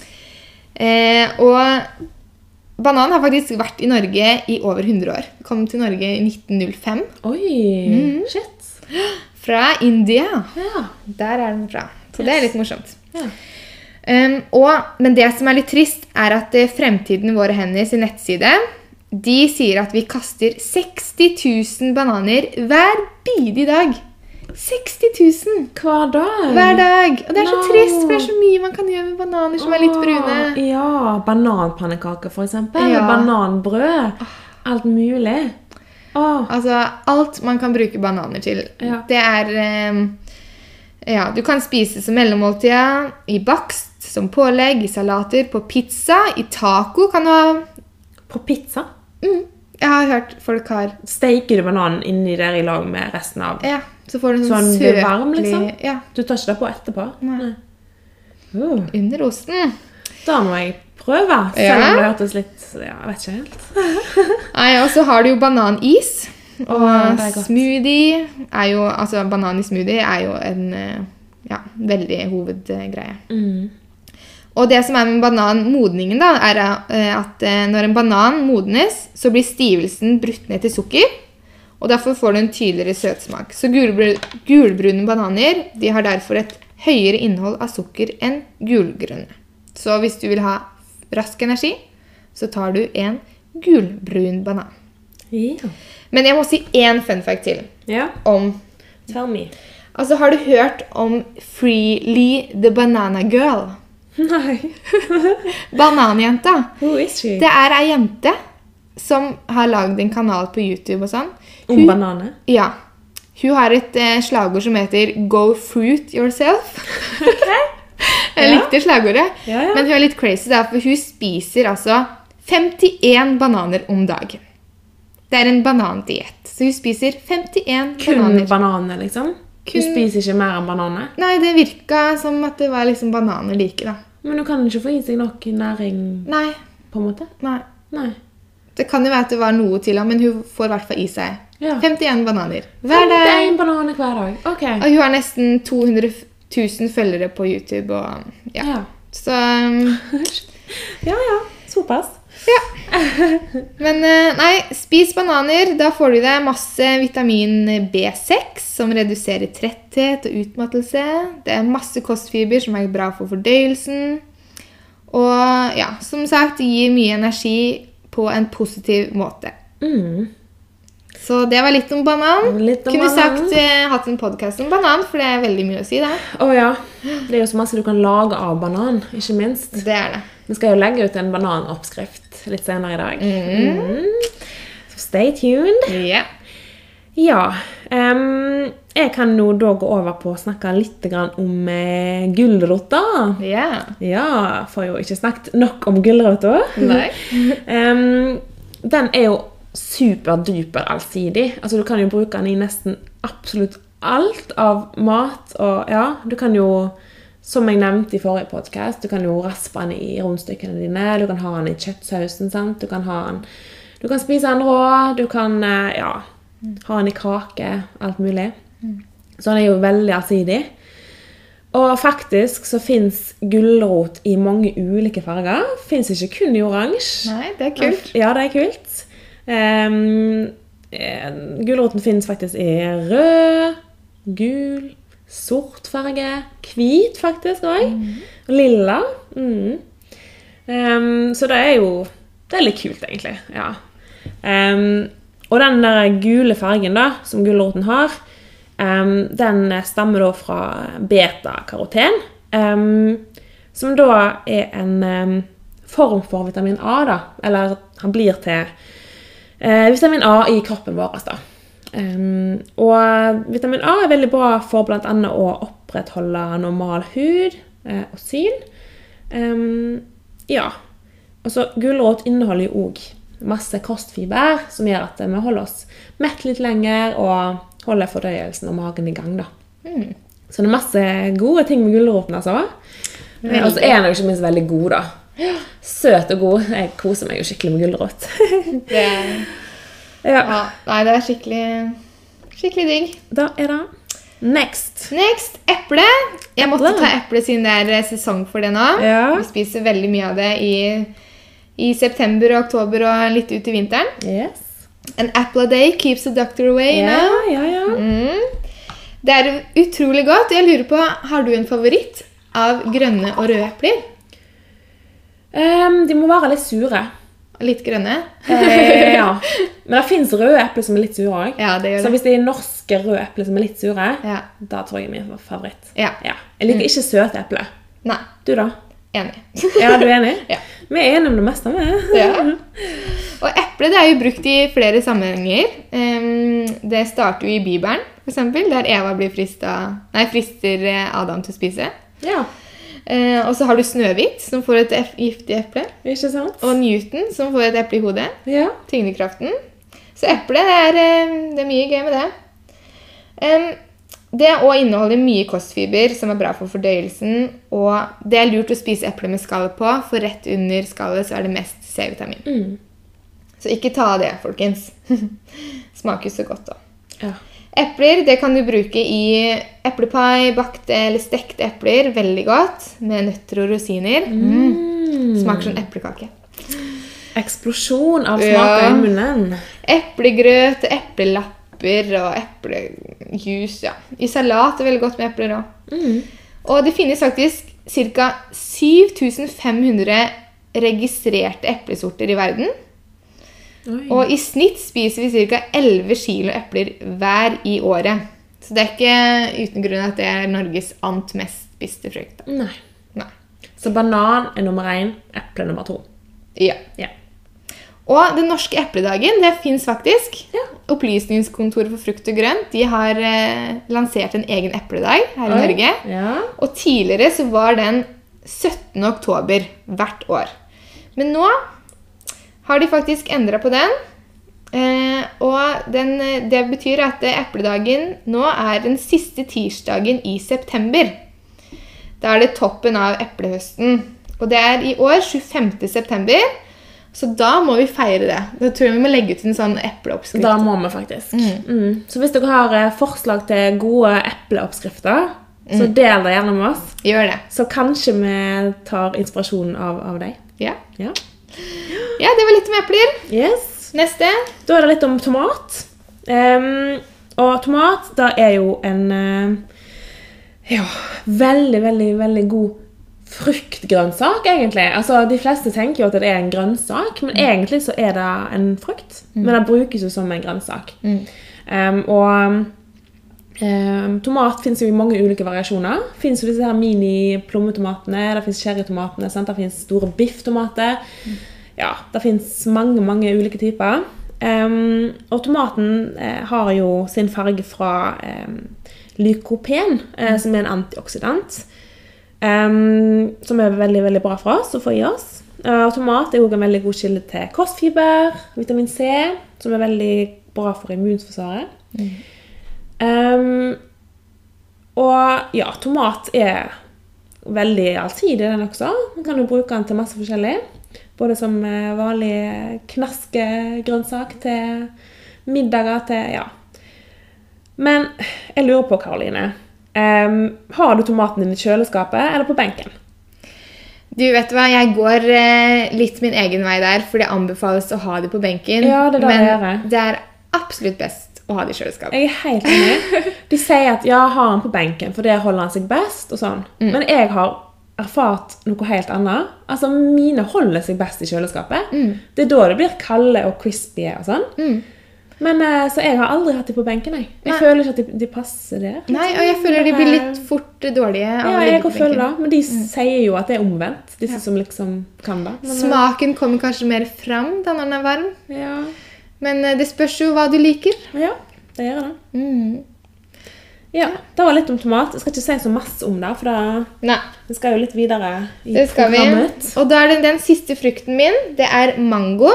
Eh, og banan har faktisk vært i Norge i over 100 år. Kom til Norge i 1905 Oi. Mm. Shit. fra India. Ja. Der er den fra. Så det er litt morsomt. Ja. Um, og, men det som er litt trist, er at eh, Fremtiden Våre Hender sin nettside de sier at vi kaster 60 000 bananer hver bidige dag. 60 000 Hver dag. hver dag! Og det er så No. trist, for det er så mye man kan gjøre med bananer som er litt Åh, brune. Ja. Bananpannekaker, for eksempel. Ja. Bananbrød. Alt mulig. Åh. Altså, alt man kan bruke bananer til. Ja. Det er eh, Ja, du kan spise som mellommåltid, i bakst, som pålegg, i salater, på pizza, i taco kan du ha På pizza. mm, Jeg har hørt folk har Steiker du bananen inni der i lag med resten av Ja, så får du en sånn, Sånn blir søtlig varm, liksom? Ja, Du tar ikke det på etterpå? Nei. Uh, under osten. da må jeg prøve, selv om Ja. det hørtes litt ja, Jeg vet ikke helt. Nei, og så har du jo bananis. Og Åh, det er godt. smoothie er jo Altså, banan i smoothie er jo en eh, ja, veldig hovedgreie. Mm. Og det som er med bananmodningen, da, er eh, at eh, når en banan modnes, så blir stivelsen brutt ned til sukker. Og derfor får du en tydeligere søtsmak. Så gulbru- gulbrune bananer de har derfor et høyere innhold av sukker enn gulgrønne. Så hvis du vil ha rask energi, så tar du en gulbrun banan. Ja. Men jeg må si én fun fact til ja. om Tell me. Altså, har du hørt om Freely the Banana Girl? Nei. Bananjenta. Who is she? Det er ei jente som har lagd en kanal på YouTube og sånn. Om bananer? Ja. Hun har et eh, slagord som heter 'Go fruit yourself'. Jeg Ja. likte slagordet. Ja, ja. Men hun er litt crazy, da, for hun spiser altså 51 bananer om dagen. Det er en banandiett. Så hun spiser 51 Kun bananer. bananer, liksom? Kun- Du spiser ikke mer enn bananer? Nei, det virka som at det var liksom bananer like, da. Men du kan ikke få i seg nok næring, Nei. på en måte? nei. Nei. Det kan jo være at det var noe til ham, men hun får i hvert fall i seg Ja. 51 bananer hver dag. En banan hver dag. OK. Og hun har nesten 200 000 følgere på YouTube og ja. Ja. Så um, ja ja. Såpass. ja. Men eh, nei, spis bananer. Da får du i deg masse vitamin B6, som reduserer tretthet og utmattelse. Det er masse kostfiber som er bra for fordøyelsen. Og ja, som sagt, det gir mye energi på en positiv måte. Mm. Så det var litt om banan. Litt om Kunne banan. sagt eh, hatt en podkast om banan, for det er veldig mye å si, da. Å ja. Det er jo så masse du kan lage av banan, ikke minst. Det er det. Vi skal jo legge ut en bananoppskrift litt senere i dag. Mm. Så stay tuned. Ja. Ja. em, jeg kan nå da gå over på å snakke litt grann om eh, gulrota. Ja. Ja, får jo ikke snakket nok om gulrota. Nei. Em, den er jo superduper allsidig. Altså, du kan jo bruke den i nesten absolutt alt av mat. Og ja, du kan jo, som jeg nevnte i forrige podkast, du kan jo raspe den i rundstykkene dine. Du kan ha den i kjøttsausen. sant? Du kan ha den Du kan spise den rå. Du kan eh, ja, ha den i kake. Alt mulig. Så den er jo veldig allsidig. Og faktisk så fins gulrot i mange ulike farger. Fins ikke kun i oransje. Nei, det er kult. Ja, det er kult. Ehm, eh, gulroten finnes faktisk i rød, gul, sort farge, hvit faktisk òg. Mhm. Lilla. Mm. Ehm, så det er jo Det er litt kult, egentlig. Ja. Ehm, og den der gule fargen da, som gulroten har, ehm, den stammer da fra beta-karoten. ehm, som da er en ehm, form for vitamin A, da. Eller han blir til eh, vitamin A i kroppen vår. Da. Ehm, og vitamin A er veldig bra for bl.a. å opprettholde normal hud eh, og syn. Ehm, ja. Og så Gulrot inneholder jo òg masse kostfiber, som gjør at eh, vi holder oss mett litt lenger og holder fordøyelsen og magen i gang. da. Så det er masse gode ting med gulroten, altså. Eh, Og så er den jo ikke minst veldig god, da. Søt og god. Jeg koser meg jo skikkelig med gulrot. Det er, ja, ja. Nei, det er skikkelig, skikkelig digg. da er det next. Next, eple. Jeg måtte Eple. ta eple siden det er eh, sesong for det nå. Ja. Vi spiser veldig mye av det i, i september og oktober og litt ut i vinteren. Yes. An apple a day keeps the doctor away, you Ja, know. ja, ja. Mm. Det er utrolig godt. Jeg lurer på, Har du en favoritt av grønne og røde epler? Ehm, de må være litt sure. Litt grønne? Eh, ja. Men det fins røde epler som er litt sure òg. Ja, det Så gjør det. hvis det er norske røde epler som er litt sure, Ja. da tror jeg er min favoritt. Ja. Mm. Ja. Jeg liker ikke søte epler. Nei, Du, da? enig. Ja, du er enig? Ja. Vi er enige om det meste. vi. Ja. Og eple det er jo brukt i flere sammenhenger. Ehm, det starter jo i Bibelen, f.eks., der Eva blir frista, nei, frister eh, Adam til å spise. ja. Eh, og så har du Snøhvit, som får et ef- giftig eple. Ikke sant? Og Newton, som får et eple i hodet. Ja. Tyngdekraften. Så eple, det er, eh, det er mye gøy med det. Ehm, det òg inneholder mye kostfiber, som er bra for fordøyelsen. Og det er lurt å spise eple med skall på, for rett under skallet så er det mest C-vitamin. Mm. Så ikke ta det, folkens. Smaker så godt, da. ja. Epler det kan du bruke i eplepai, bakte eller stekte epler. Veldig godt. Med nøtter og rosiner. Mm. Smaker som eplekake. Eksplosjon av Ja. smaker i munnen. Eplegrøt, eplelapper og eplejus. Ja. I salat er det veldig godt med epler òg. Mm. Og det finnes faktisk ca. 7500 registrerte eplesorter i verden. Oi. Og i snitt spiser vi ca. 11 kilo epler hver i året. Så det er ikke uten grunn at det er Norges ant mest spiste frukt. da. Nei. Nei. Så banan er nummer én, eple nummer to. Ja. Ja. Og den norske epledagen, det fins faktisk. Ja. Opplysningskontoret for frukt og grønt de har eh, lansert en egen epledag her Oi. i Norge. Ja. Og tidligere så var den 17. oktober hvert år. Men nå har de faktisk endra på den. Eh, og den, eh, det betyr at eh, epledagen nå er den siste tirsdagen i september. Da er det toppen av eplehøsten. Og det er i år 25. september. Så da må vi feire det. Da tror jeg vi må legge ut en sånn epleoppskrift. Da må vi faktisk. Mm. Så hvis dere har eh, forslag til gode epleoppskrifter, så Mm. del det gjerne med oss. Gjør det. Så kanskje vi tar inspirasjonen av, av deg. Ja. Ja. ja, det var litt om epler. Yes. Neste. Da er det litt om tomat. Ehm, og tomat, da er jo en eh, ja, veldig, veldig, veldig god fruktgrønnsak, egentlig. Altså, De fleste tenker jo at det er en grønnsak, men egentlig så er det en frukt. Men det brukes jo som en grønnsak. Um, og um, tomat finnes jo i mange ulike variasjoner. Fins jo disse her mini-plommetomatene, det fins cherrytomatene, sant? det fins store bifftomater. Ja, det fins mange, mange ulike typer. Um, og tomaten eh, har jo sin farge fra em, lykopen, eh, som er en antioksidant. Em, som er veldig veldig bra for oss å få i oss. Eh, Og tomat er også en veldig god kilde til kostfiber, vitamin C, som er veldig bra for immunforsvaret. Em, og ja, tomat er veldig allsidig, den også. Man kan jo bruke den til masse forskjellig. Både som eh, vanlig knaskegrønnsak til middager til Ja. Men jeg lurer på, Karoline. em, har du tomaten din i kjøleskapet eller på benken? Du vet hva, Jeg går eh, litt min egen vei der, for det anbefales å ha det på benken. Ja, det er det men jeg gjør. det er absolutt best å ha det i kjøleskapet. Jeg er helt enig. De sier at ja, ha han på benken, for der holder han seg best. og sånn. Mm. Men jeg har erfart noe helt annet. Altså, Mine holder seg best i kjøleskapet. Mm. Det er da det blir kalde og crispy og sånn. Men eh, Så jeg har aldri hatt de på benken. Jeg, jeg Mm. Nei. føler ikke at de, de passer der. Nei, og jeg føler de blir litt fort dårlige. av å eh, Ja, ligge jeg på kan føle det, benken. Mm. men de sier jo at det er omvendt. Disse som liksom kan det. Men, eh, Smaken kommer kanskje mer fram da når den er varm, Ja, men eh, det spørs jo hva du liker. ja det gjør det. Mm. Ja, Det var litt om tomat. Jeg skal ikke si så masse om det, for det, Nei, vi skal jo litt videre i det skal vi. programmet. Og da er det den siste frukten min. Det er mango.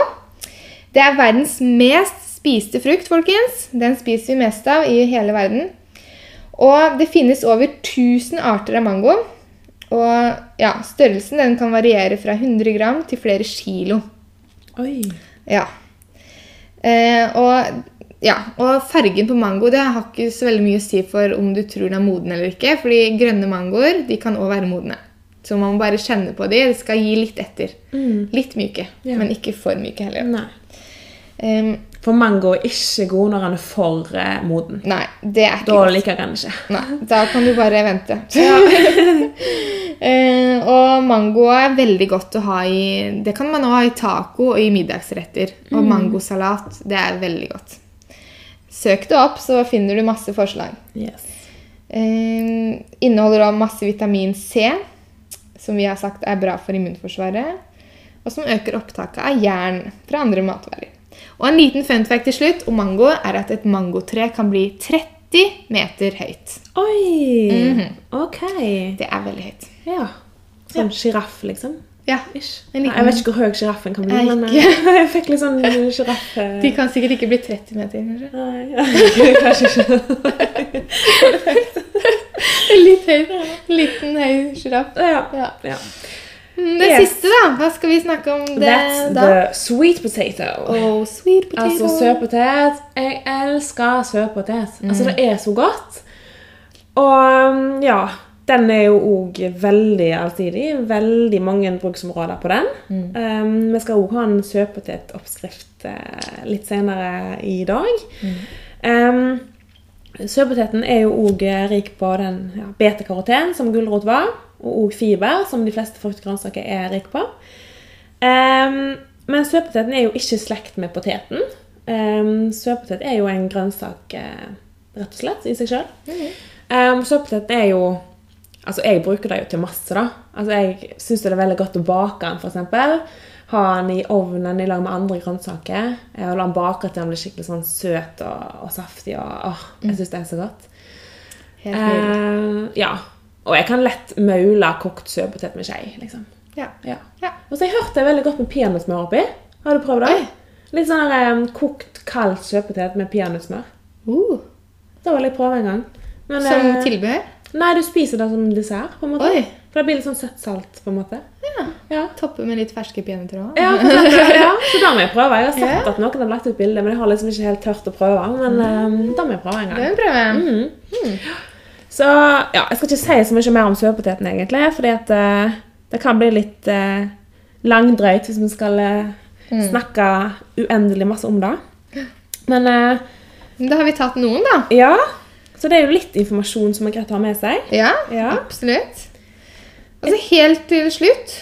Det er verdens mest spiste frukt, folkens. Den spiser vi mest av i hele verden. Og det finnes over 1000 arter av mango. Og ja, størrelsen den kan variere fra 100 gram til flere kilo. Oi. Ja. Eh, og, ja. og fargen på mango det har ikke så veldig mye å si for om du tror den er moden eller ikke. fordi grønne mangoer de kan òg være modne. Så man må bare kjenne på dem. Det skal gi litt etter. Litt myke, Ja. men ikke for myke heller. Mm. Nei. Em, For mango er ikke god når han er for eh, moden. nei, det er ikke Da liker jeg han ikke. Nei, da kan du bare vente. Eh, og mango er veldig godt å ha i Det kan man også ha i taco og i middagsretter. Og mangosalat. Det er veldig godt. Søk det opp, så finner du masse forslag. Yes. Eh, inneholder også masse vitamin C, som vi har sagt er bra for immunforsvaret. Og som øker opptaket av jern fra andre matvarer. Og en liten fun fact til slutt om mango er at et mangotre kan bli 30 meter høyt. Oi! Mhm. Ok. Det er veldig høyt. Ja. Sånn sjiraff, liksom. Ja. Ish. En liten- Nei, Jeg vet ikke hvor høy sjiraffen kan bli, Nei, men eh, jeg fikk litt sånn sjiraff... eh, De kan sikkert ikke bli 30 meter, kanskje. Nei, kanskje ikke. Litt høy, liten høy sjiraff. Ja. Ja. ja. Mm, Det Yes. siste, da. Hva skal vi snakke om det That's da? the sweet potato. Oh, sweet potato. Altså søtpotet. Jeg elsker søtpotet. Altså, det er så godt. Og um, ja, den er jo òg veldig allsidig. Veldig mange bruksområder på den. Um, vi skal òg ha en søtpotetoppskrift eh, litt senere i dag. Um, Søtpoteten er jo òg rik på den ja, beta-karoten, som gulrot var, og òg fiber, som de fleste fruktgrønnsaker er rik på. Ehm, men søtpoteten er jo ikke i slekt med poteten. Um, søtpotet er jo en grønnsak, eh, rett og slett, i seg sjøl. Um, søtpoteten er jo Altså, jeg bruker det jo til masse, da. Altså, Jeg syns det er veldig godt å bake den, f.eks. Ha den i ovnen i lag med andre grønnsaker. eh, Og la den bake til den blir skikkelig sånn søt og, og saftig. og åh, Jeg syns det er så godt. Helt Eh, nydelig. ja. Og jeg kan lett maule kokt søtpotet med skei. liksom. ja. Ja. Ja. Og så har jeg hørt det er veldig godt med peanøttsmør oppi. Har du prøvd det? Litt sånn der, em, kokt, kald søtpotet med peanøttsmør. Uh, Det vil jeg prøve en gang. Men, som eh, tilbehør? Nei, du spiser det som dessert, på en måte. Oi. For det blir litt sånn søtt-salt, på en måte. Ja. Ja. Toppe med litt ferske peanøtter òg? Ja, for eksempel, ja, så da må jeg prøve. Jeg har sett Ja. at noen har lagt ut bilde, men jeg har liksom ikke helt tørt å prøve. Men em, da må jeg prøve en Det er gang. en prøve. Mm. Så ja, jeg skal ikke si så mye mer om søtpoteten, egentlig. Fordi at eh, det kan bli litt eh, langdrøyt hvis vi skal eh, snakke uendelig masse om det. Men eh, Men Da har vi tatt noen, da. ja. Så det er jo litt informasjon som er greit å ha med seg. Ja, Ja. absolutt. Altså helt til slutt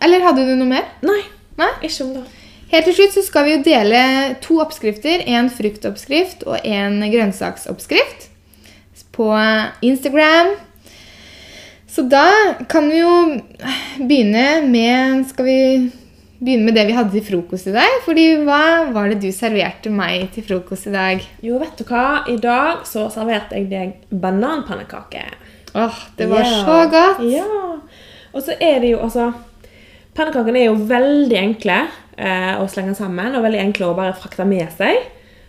Eller hadde du noe mer? Nei, Nei? ikke om det. Helt til slutt så skal vi jo dele to oppskrifter. En fruktoppskrift og en grønnsaksoppskrift på Instagram. Så da kan vi jo begynne med Skal vi begynne med det vi hadde til frokost i dag? Fordi hva var det du serverte meg til frokost i dag? Jo, vet du hva? I dag så serverte jeg deg bananpannekake. Åh, det var Ja. så godt! Ja. Og så er det jo altså Pannekakene er jo veldig enkle eh, å slenge sammen, og veldig enkle å bare frakte med seg.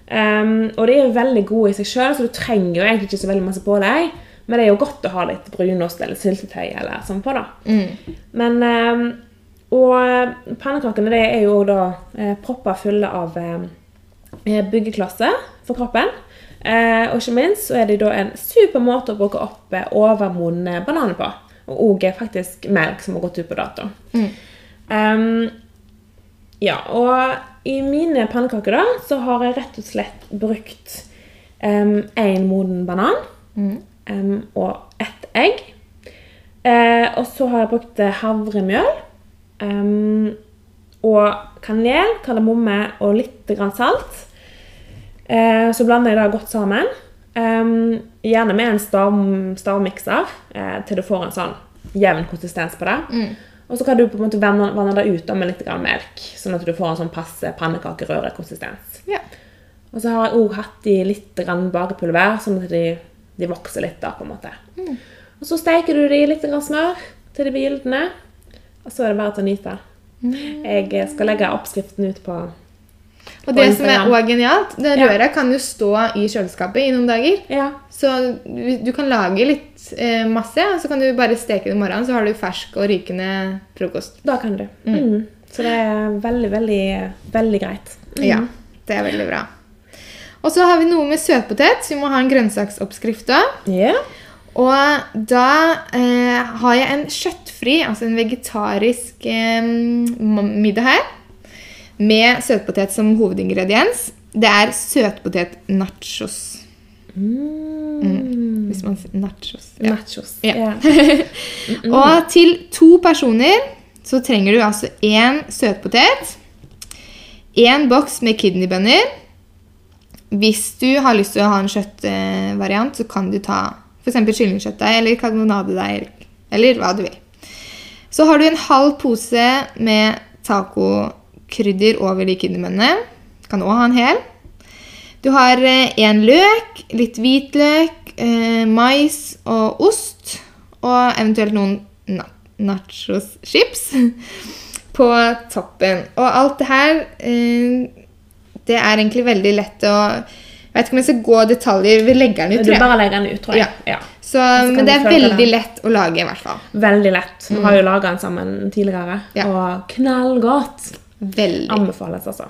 Ehm, og de er jo veldig gode i seg sjøl, så du trenger jo egentlig ikke så veldig masse på deg. Men det er jo godt å ha litt brunost eller syltetøy eller sånn på, da. Mm. Men ehm, Og pannekakene det er jo da eh, propper fulle av eh, byggeklosser for kroppen. Eh, og ikke minst så er det da en super måte å bruke opp eh, overmodne bananer på. Og òg faktisk melk som har gått ut på dato. Ehm, ja, og i mine pannekaker da, så har jeg rett og slett brukt em, en moden banan em, og ett egg. Eh, og så har jeg brukt eh, havremjøl em, og kanel, kardemomme og litt grann salt. Eh, så blander jeg det godt sammen. Em, gjerne med en stav- stavmikser eh, til du får en sånn jevn konsistens på det. Og så kan du på en måte vanne, vanne det ut da med litt grann melk, sånn at du får en sånn passe pannekakerøre-konsistens. Ja. Og så har jeg òg hatt i litt grann bakepulver, sånn at de, de vokser litt da, på en måte. Mm. Og så steker du det i litt grann smør til de blir gyldne, og så er det bare til å nyte. Mm. Jeg skal legge oppskriften ut på Og På det som er Instagram. også genialt, det Ja. røret kan jo stå i kjøleskapet i noen dager. Ja. Så du- du kan lage litt eh, masse, og så kan du bare steke det i morgenen, så har du fersk og rykende frokost. Da kan du. Mm. Så det er veldig, veldig, veldig greit. Ja, det er veldig bra. Og så har vi noe med søtpotet, så vi må ha en grønnsaksoppskrift da. Ja. Og da eh, har jeg en kjøttfri, altså en vegetarisk eh, m- middag her, med søtpotet som hovedingrediens. Det er søtpotet nachos, hvis man sier nachos. Mm. Ja. Mm. Nachos. Ja. Ja. Og til to personer så trenger du altså én søtpotet, én boks med kidneybønner. Hvis du har lyst til å ha en kjøttvariant, så kan du ta f.eks. kyllingkjøttdeig eller karbonadedeig eller hva du vil. Så har du en halv pose med tacokrydder over de kidneybønnene. Kan òg ha en hel. Du har eh, en løk, litt hvitløk, eh, mais og ost. Og eventuelt noen na nachos-chips på toppen. Og alt det her eh, Det er egentlig veldig lett å Jeg vet ikke om jeg skal gå i detaljer. Vi legger den ut, Du tror jeg. bare legger den ut, tror jeg. Ja. så Så, kan men du det er følge veldig den. lett å lage, i hvert fall. Veldig lett. Vi har jo laga den sammen tidligere, Mm. Ja. og knallgodt. Veldig. Anbefales, altså.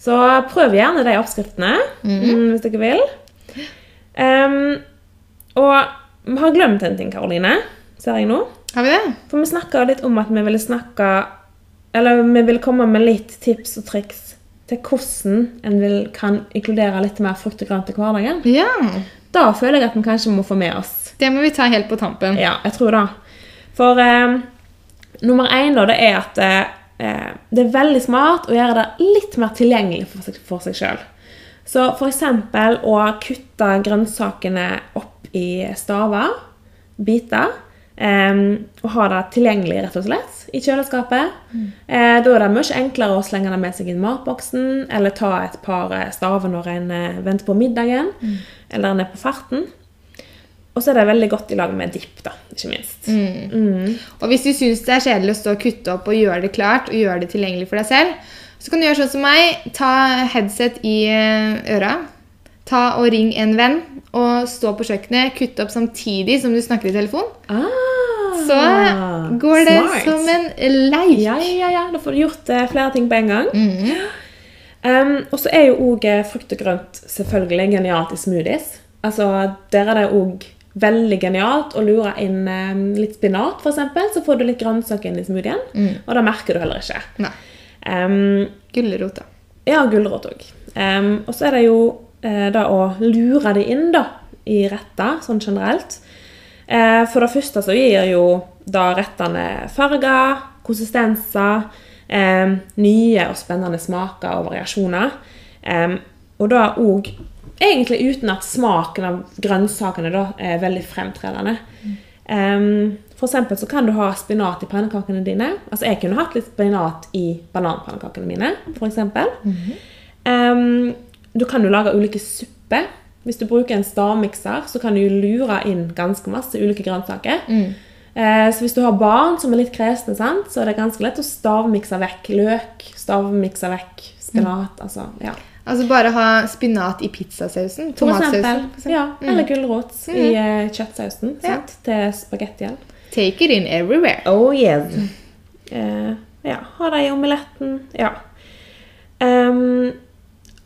Så prøv gjerne de oppskriftene mm, hvis dere vil. Ehm, og vi har glemt en ting, Karoline, ser jeg nå. Har vi det? For vi snakka litt om at vi ville snakke Eller vi ville komme med litt tips og triks til hvordan en vil, kan inkludere litt mer frukt og grønt i hverdagen. Ja. Da føler jeg at vi kanskje må få med oss Det må vi ta helt på tampen. ja, jeg tror det. For eh, nummer én da, det er at eh, eh, det er veldig smart å gjøre det litt mer tilgjengelig for seg, for seg sjøl. Så f.eks. å kutte grønnsakene opp i staver, biter, eh, og ha det tilgjengelig rett og slett i kjøleskapet. Eh, da er det mye enklere å slenge det med seg i matboksen, eller ta et par eh, staver når en eh, venter på middagen, eller en er på farten. Og så er det veldig godt i lag med dipp, da, ikke minst. Og hvis du syns det er kjedelig å stå og kutte opp og gjøre det klart og gjøre det tilgjengelig for deg selv, så kan du gjøre sånn som meg. Ta headset i eh, øra. Ta og ring en venn. Og stå på kjøkkenet, kutte opp samtidig som du snakker i telefon. Ah, Så går det smart. som en leik. Ja, ja, ja. Da får du gjort eh, flere ting på en gang. Um, og så er jo òg frukt og grønt selvfølgelig genialt i smoothies. Altså, Der er det òg veldig genialt å lure inn eh, litt spinat, f.eks. Så får du litt grønnsaker inn i smoothien, og det merker du heller ikke. Nei. Um, Gulrot, da. Ja, gulrot òg. Ehm, og så er det jo eh, da å lure de inn da, i retter, sånn generelt. Eh, For det første så gir jo da rettene farger, konsistenser, eh, nye og spennende smaker og variasjoner. Eh, og da òg egentlig uten at smaken av grønnsakene da er veldig fremtredende. Eh, for eksempel så kan du ha spinat i pannekakene dine. Altså jeg kunne hatt litt spinat i bananpannekakene mine, for eksempel. Ehm, du kan jo lage ulike supper. Hvis du bruker en stavmikser, så kan du jo lure inn ganske masse ulike grønnsaker. Eh, så hvis du har barn som er litt kresne, sant, så er det ganske lett å stavmikse vekk løk, stavmikse vekk spinat, altså, ja. Altså bare ha spinat i pizzasausen. For Tomatsausen. eksempel, Mm. ja, eller gulrot i eh, kjøttsausen, sant, til spagettien. Take it in everywhere. Oh yes. Eh, ja, ha det i omeletten. Ja. Ehm,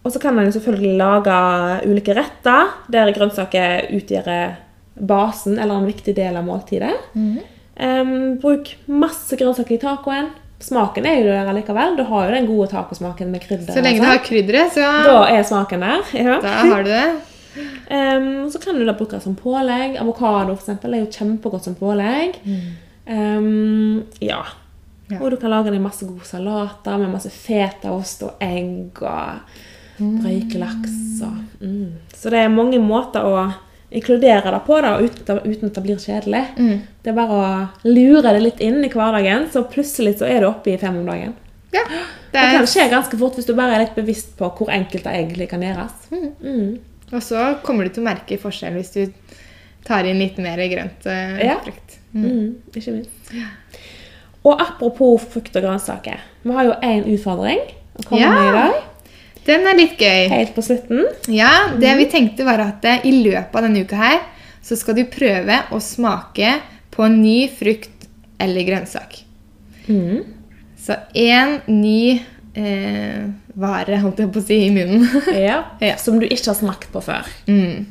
og så kan en selvfølgelig lage ulike retter der grønnsaker utgjør basen eller en viktig del av måltidet. Mhm. Ehm, bruk masse grønnsaker i tacoen. Smaken er jo der allikevel. Du har jo den gode tacosmaken med krydder. Så lenge og du har sånn. krydderet, så Da er smaken der. Ja. da har du det. Ehm, og så kan du da bruke det som pålegg. Avokado for eksempel, er jo kjempegodt som pålegg. Ehm, ja. Mm. Ja. Og du kan lage det i masse gode salater med masse fetaost og egg og Mm. røykelaks. Og, mm. Så det er mange måter å inkludere det på da, uten, at- uten at det blir kjedelig. Mm. Det er bare å lure det litt inn i hverdagen, så plutselig så er du oppe i fem om dagen. Ja. Det Det er, kan skje ganske fort hvis du bare er litt bevisst på hvor enkelt det egentlig kan gjøres. Mm. og så kommer du til å merke forskjell hvis du tar inn litt mer grønt eh, Ja. frukt. Mm, ikke minst. Og apropos frukt og grønnsaker. Vi har jo én utfordring å komme Ja. med i dag. Den er litt gøy. Helt på slutten. Ja, det Mm. vi tenkte var at eh, i løpet av denne uka her, så skal du prøve å smake på en ny frukt eller grønnsak. Mm. Så én ny eh, vare, holdt jeg på å si, i munnen. Ja. Som du ikke har smakt på før. Mm.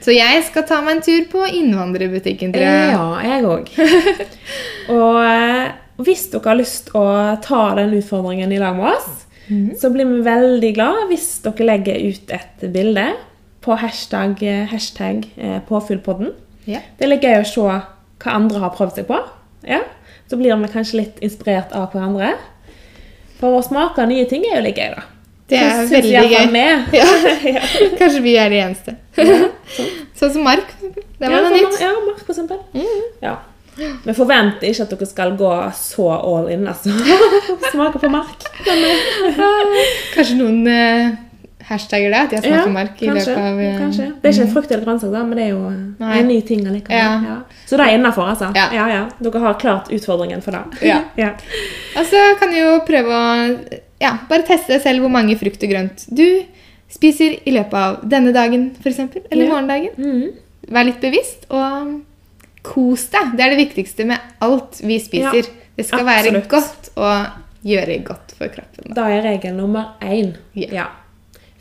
Så jeg skal ta meg en tur på innvandrerbutikken, tror jeg. Ja, jeg òg. og eh, hvis dere har lyst å ta den utfordringen i lag med oss, så blir vi veldig glad hvis dere legger ut et bilde på hashtag, hashtag eh, påfyllpodden. Ja. Det er litt gøy å se hva andre har prøvd seg på. Ja. Så blir vi kanskje litt inspirert av hverandre. For å smake nye ting er jo litt gøy, da. Det er Synes veldig iallfall gøy. vi. Ja. Kanskje vi er de eneste. sånn som Mark. Det var Ja, noe sånn, nytt. Mm. Ja, Mark, for eksempel. Ja. Vi forventer ikke at dere skal gå så all in, altså. Smake på Mark. Kanskje noen eh, hashtagger det? At jeg smaker Ja, Mark i kanskje, løpet av eh, kanskje. Det er ikke frukt eller grønnsak, da, men det er jo Nei. en ny ting allikevel. Ja. Ja. Så det er innafor, altså. Ja. Ja, ja. Dere har klart utfordringen for det. Ja. ja. Og så kan du jo prøve å ja, bare teste selv hvor mange frukt og grønt du spiser i løpet av denne dagen, f.eks. Eller Ja. morgendagen. Mhm. Vær litt bevisst, og kos deg. Det er det viktigste med alt vi spiser. Ja, det skal være absolutt. godt og gjøre godt for kroppen. Da er regel nummer én. Ja.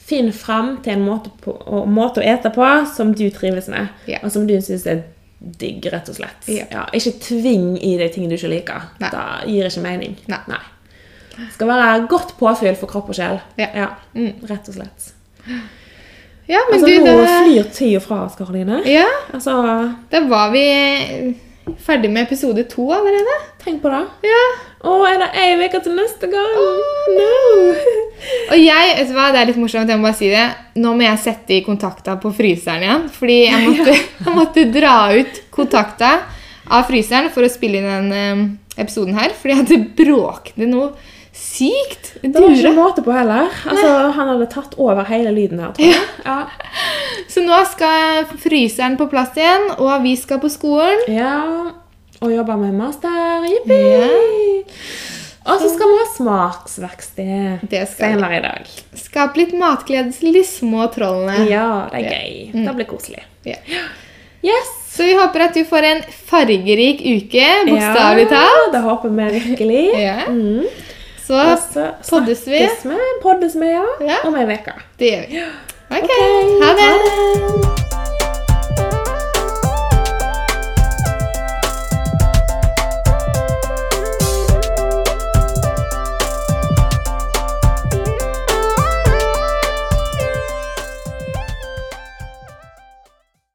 Finn fram til en måte, på, og måte å ete på som du trives med, Ja. og som du syns er digg, rett og slett. Ja. ikke tving i deg ting du ikke liker. Nei. Da gir det ikke mening. Nei. Det skal være godt påfyll for kropp og sjel. Ja. Rett og slett. Ja, men Altså, du, nå da flyr tida fra oss, Karoline. ja, Altså, da var vi ferdig med episode to allerede. tenk på det. Ja. Å, er det ei uke til neste gang? Og jeg, vet du hva, det er litt morsomt, jeg må bare si det. Nå må jeg sette i kontakta på fryseren igjen. Fordi jeg måtte, jeg måtte dra ut kontakta av fryseren for å spille inn den eh, episoden her. Fordi jeg hadde bråkende noe sykt. Det var ikke Dure. måte på heller. Altså, han hadde tatt over hele lyden her, tror jeg. Ja. Så nå skal fryseren på plass igjen, og vi skal på skolen. Ja, og jobber med master. Jippi! Og så skal vi ha smaksverksted Det skal vi. senere i dag. Skape litt matglede til de små trollene. Ja, det er gøy. Mm. Det blir koselig. Ja. Yes! Så vi håper at du får en fargerik uke, bokstavelig talt. Ja, det håper vi virkelig. Ja. Mm. Så Og så poddes vi. snakkes vi. Poddes vi, ja. Ja. Om ei uke. det gjør vi. Ok, Ok, ha det!